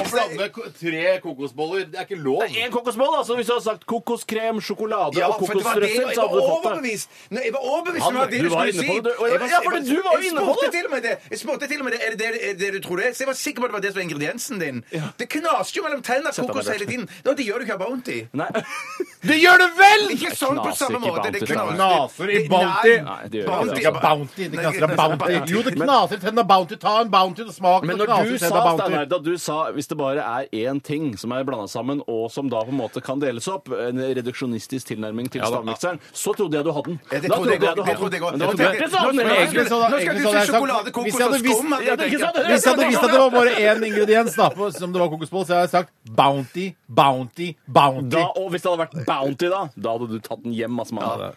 S3: tre kokosboller. Det er ikke lov.
S4: En kokosbolle, altså hvis du hadde sagt kokoskrem, sjokolade
S5: Ja,
S4: og
S5: for det var det
S4: kokosrøtter,
S5: jeg
S4: så hadde
S5: var
S4: du fått det.
S5: overbevist. Nei, jeg var overbevist
S4: Han-
S5: om at det
S4: du
S5: du
S4: var
S5: skulle
S4: inne
S5: si.
S4: på det, og jeg
S5: Jeg
S4: var-
S5: var-
S4: ja, for det- du var jo
S5: jeg
S4: inne på
S5: spurte
S4: det.
S5: til og med det. Jeg spurte til og med det. Er det det, er det du tror det er? Så jeg var sikker på at det var det som var ingrediensen din. Det knaste jo mellom tennene
S4: deg
S5: kokos
S4: ned.
S5: hele tiden. Nå, det gjør du ikke av Bounty.
S4: Nei. [laughs]
S3: Det gjør det vel!
S5: Ikke sånn på
S4: knaser
S5: samme
S4: ikke
S5: måte. Det
S4: Bounty, Steinar.
S3: Knaser i
S5: Det-
S3: Bounty.
S4: Nei, det gjør
S5: Bounty,
S3: Ja,
S4: ikke det. altså.
S3: bounty. Det knaser av bounty. Jo, det knaser i tennene av bounty. Ta en bounty og smak.
S4: Men
S3: det
S4: når
S3: knaser
S4: du
S3: i
S4: sa,
S3: tennene av Bounty.
S4: Steinar, da du sa hvis det bare er én ting som er blanda sammen, og som da på en måte kan deles opp, en reduksjonistisk tilnærming til stavmikseren, så trodde jeg du hadde den.
S5: Ja, det
S4: Da
S5: trodde
S4: jeg
S5: jeg
S4: du
S5: også, det trodde jeg også.
S4: Men det var
S5: Jeg
S4: Bjarte
S5: trodde-
S4: som sa
S5: Nå
S4: det.
S3: Men
S5: skal-
S3: egentlig så-
S5: nå skal
S3: egentlig
S5: du
S3: så hadde
S5: si
S3: jeg sagt-
S5: sjokolade, kokos
S3: Hvis jeg
S5: og
S3: hadde visst-
S5: skum, hadde
S3: Ja,
S5: jeg
S3: det er ikke
S5: tenkt.
S3: sant. Hvis jeg hadde visst at det var bare én ingrediens da, på, som det var kokosboll, så hadde jeg sagt Bounty, Bounty, Bounty.
S4: Da, og hvis det hadde vært Bounty, da, da hadde du tatt den hjem. Altså, mann.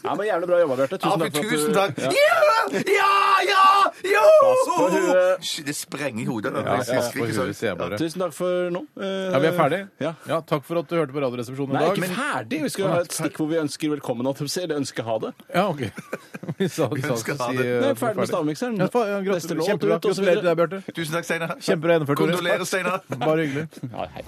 S4: ja, men Jævlig bra jobba, Bjarte. Tusen takk.
S5: Ja,
S4: for at du-
S5: tusen takk.
S4: Ja.
S5: Ja! Ja! Ja! Jo!
S4: Pass på huet.
S5: Shit, Det sprenger i hodet. da.
S3: Ja,
S5: Jeg
S3: pass på
S5: skriker
S3: huet,
S5: sånn.
S3: sier jeg bare.
S4: Tusen takk for nå. Eh,
S3: Ja, vi er ferdige.
S4: Ja.
S3: Ja, takk for at du hørte på Radioresepsjonen i
S4: Nei,
S3: dag.
S4: ikke ferdig. Vi skal ha et stikk hvor vi ønsker velkommen. at du ser det, ønsker ha det.
S3: Ja, ok. [laughs] Vi sa vi sa
S5: skal
S3: å
S5: ha
S3: si
S5: det.
S3: eh,
S4: Nei, ferdig med stavmikseren.
S3: Ja, fa- ja,
S4: Neste
S3: gratulerer.
S4: låt
S3: Kjempebra.
S4: ut, og så
S3: Gratulerer til deg, Bjarte.
S5: Tusen takk, Steinar.
S3: Kjempebra gjennomført. Tore.
S5: Kondolerer, Steinar.
S3: Bare hyggelig.
S4: Ja, hei.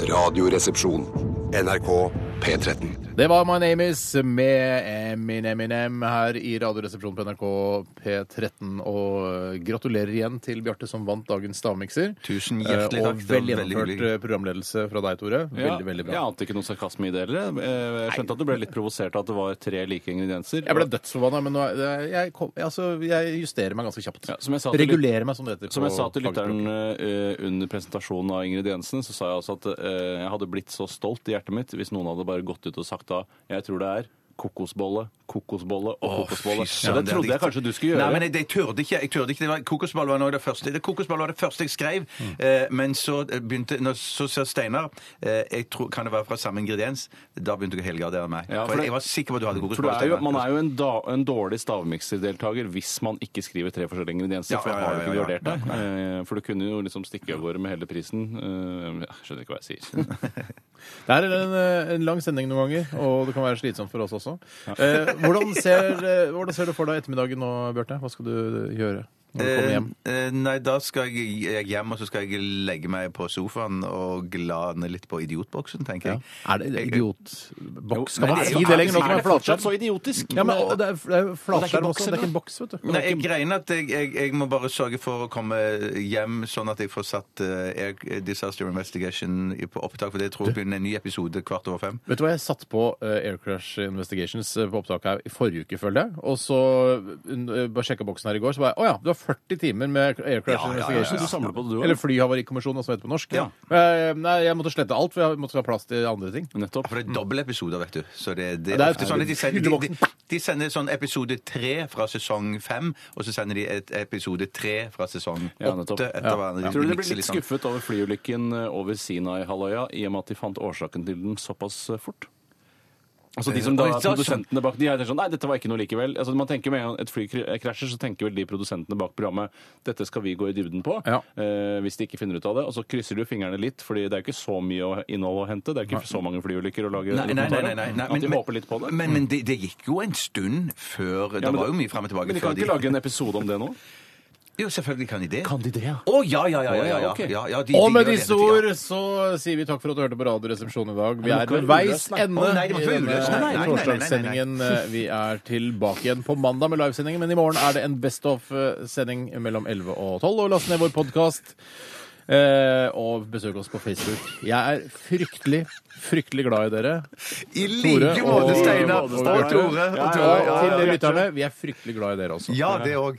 S6: Radioresepsjon. NRK P13.
S3: Det var My Name Is med Emin Eminem her i Radioresepsjonen på NRK P13. Og eh, gratulerer igjen til Bjarte som vant dagens stavmikser.
S5: Tusen hjertelig
S3: Eh,
S5: takk.
S3: Og
S5: Det var
S3: vel
S5: veldig
S3: gjennomført
S5: hyggelig.
S3: eh, programledelse fra deg, Tore.
S4: Ja,
S3: Veldig, veldig
S4: Jeg
S3: bra.
S4: ante ikke noe sarkasme i det heller. Eh, Jeg skjønte at du ble litt provosert av at det var tre like ingredienser.
S3: Jeg ble dødsforbanna, men nå, er- det- jeg, kom, altså, jeg justerer meg ganske kjapt.
S4: Ja, som jeg sa til
S3: Regulerer meg, som det heter.
S4: Som jeg
S3: på
S4: sa til lytteren
S3: fagspråk.
S4: eh, under presentasjonen av ingrediensene, så sa jeg altså at eh, jeg hadde blitt så stolt i hjertet mitt hvis noen hadde bare gått ut og sagt da jeg tror det er kokosbolle, kokosbolle og
S5: Å,
S4: kokosbolle.
S5: fy
S4: Så
S5: søren,
S4: det
S5: det er
S4: trodde jeg
S5: riktig.
S4: kanskje du skulle
S5: Nei,
S4: gjøre.
S5: men jeg, jeg turde ikke. Jeg turde ikke. Det var, kokosball var noe av det første. Det, kokosball var det første jeg skrev. Eh, men så begynte når, Så sa Steinar eh, jeg tror, Kan det være fra samme ingrediens? Da begynte jeg å helgardere meg.
S4: Ja, for
S5: for
S4: det-
S5: jeg var sikker på at du hadde
S4: For du
S5: kokosball.
S4: er jo, Man er jo en, da, en dårlig stavmikserdeltaker hvis man ikke skriver tre forskjellige ingredienser.
S5: Ja,
S4: for da
S5: ja, ja,
S4: har du ikke
S5: ja, ja.
S4: gardert deg. Eh, For du kunne jo liksom stikke av gårde med hele prisen. Eh, Jeg skjønner ikke hva jeg sier.
S3: Det er en, eh, en lang sending noen ganger, og det kan være slitsomt for oss også. Eh, hvordan, ser, eh, hvordan ser du for deg ettermiddagen nå, Bjarte? Hva skal du gjøre når du kommer hjem?
S5: Eh, eh, nei, da skal jeg, jeg hjem, og så skal jeg legge meg på sofaen og glane litt på idiotboksen, tenker jeg.
S3: Er det idiotboks? Skal
S5: Nei,
S3: man
S5: det er
S3: si
S5: jo-
S3: det lenger? Nå
S5: Er
S3: kan
S5: det
S3: det være
S4: Fortsatt
S3: flatskjerm.
S4: så idiotisk.
S3: Ja, men, og det er, det er jo
S4: ikke en
S3: flatskjerm
S4: boks,
S3: også. Det er ikke en boks, vet du.
S5: Nei, jeg greier at jeg, jeg, jeg må bare sørge for å komme hjem, sånn at jeg får satt eh, Air Disaster Investigation i- på opptak, for det tror jeg blir en ny episode kvart over fem.
S3: Vet du hva, jeg satt på eh, Air Crash Investigations eh, på opptaket her i forrige uke, føler jeg. Og så eh, bare sjekka boksen her i går, så bare Å ja, du har 40 timer med Air Crash
S5: Ja, ja, ja, ja.
S3: Investigations.
S4: Du samler på det, du også.
S3: Eller Flyhavarikommisjonen, som det heter på norsk.
S5: Ja.
S3: Eh, nei, jeg måtte slette alt, for jeg måtte ha plass til andre ting.
S4: Nettopp.
S5: For det er dobbeltepisoder, vet du. Så det, det er
S3: Mm. Ja, det er-
S5: ofte sånn at de sender, de, de, de sender sånn episode tre fra sesong fem, og så sender de et episode tre fra sesong
S4: Ja, nettopp.
S5: åtte etter hverandre.
S4: Tror du de
S5: mikser
S4: blir litt
S5: sånn.
S4: skuffet over flyulykken over Sinai-halvøya i og med at de fant årsaken til den såpass fort? eh, Altså de som da
S11: Oi,
S4: er
S11: så-
S4: Produsentene bak de her tenker sånn Nei, dette var ikke noe likevel. Altså man tenker Med en gang et fly kr- krasjer, så tenker vel de produsentene bak programmet dette skal vi gå i dybden på. Eh, hvis de ikke finner ut av det. Og så krysser du fingrene litt, Fordi det er jo ikke så mye å- innhold å hente. Det er ikke så mange flyulykker å lage
S5: Nei, nei, nei, nei, nei, nei,
S4: dokumentarer. At de håper litt på det.
S5: Men, men det, det gikk jo en stund før
S4: Ja,
S5: Det
S4: men
S5: var
S4: da-
S5: jo mye fram og tilbake.
S4: Men de kan
S5: før
S4: ikke lage en episode om det nå?
S5: Jo, selvfølgelig kan de det.
S4: Kan de det, ja?
S5: Å, ja, ja, ja. ja, ja, ja,
S4: Å, ja, ok.
S5: ja, ja de,
S3: Og
S5: de
S3: med
S5: gjør det
S3: disse
S5: hele tiden.
S3: ord så sier vi takk for at du hørte på Radioresepsjonen i dag. Vi
S4: Nei,
S3: er
S4: det må ikke
S3: ved
S4: være
S3: veis
S4: uløst, nei.
S3: ende
S5: Å, nei, det må
S3: i
S5: ikke være uløst,
S3: denne
S5: nei, nei, nei, nei, nei, nei.
S3: torsdagssendingen. Vi er tilbake igjen på mandag med livesendingen, men i morgen er det en Best of-sending mellom 11 og 12. Og last ned vår podkast. Og besøk oss på Facebook. Jeg er fryktelig, fryktelig glad i dere.
S5: I like måte, Steinar.
S3: og-
S5: Og Tore. Og Tore.
S4: Ja, ja,
S3: Og
S4: ja, ja,
S3: til
S4: ja.
S3: lytterne, vi er fryktelig glad i dere også.
S5: Ja, det òg.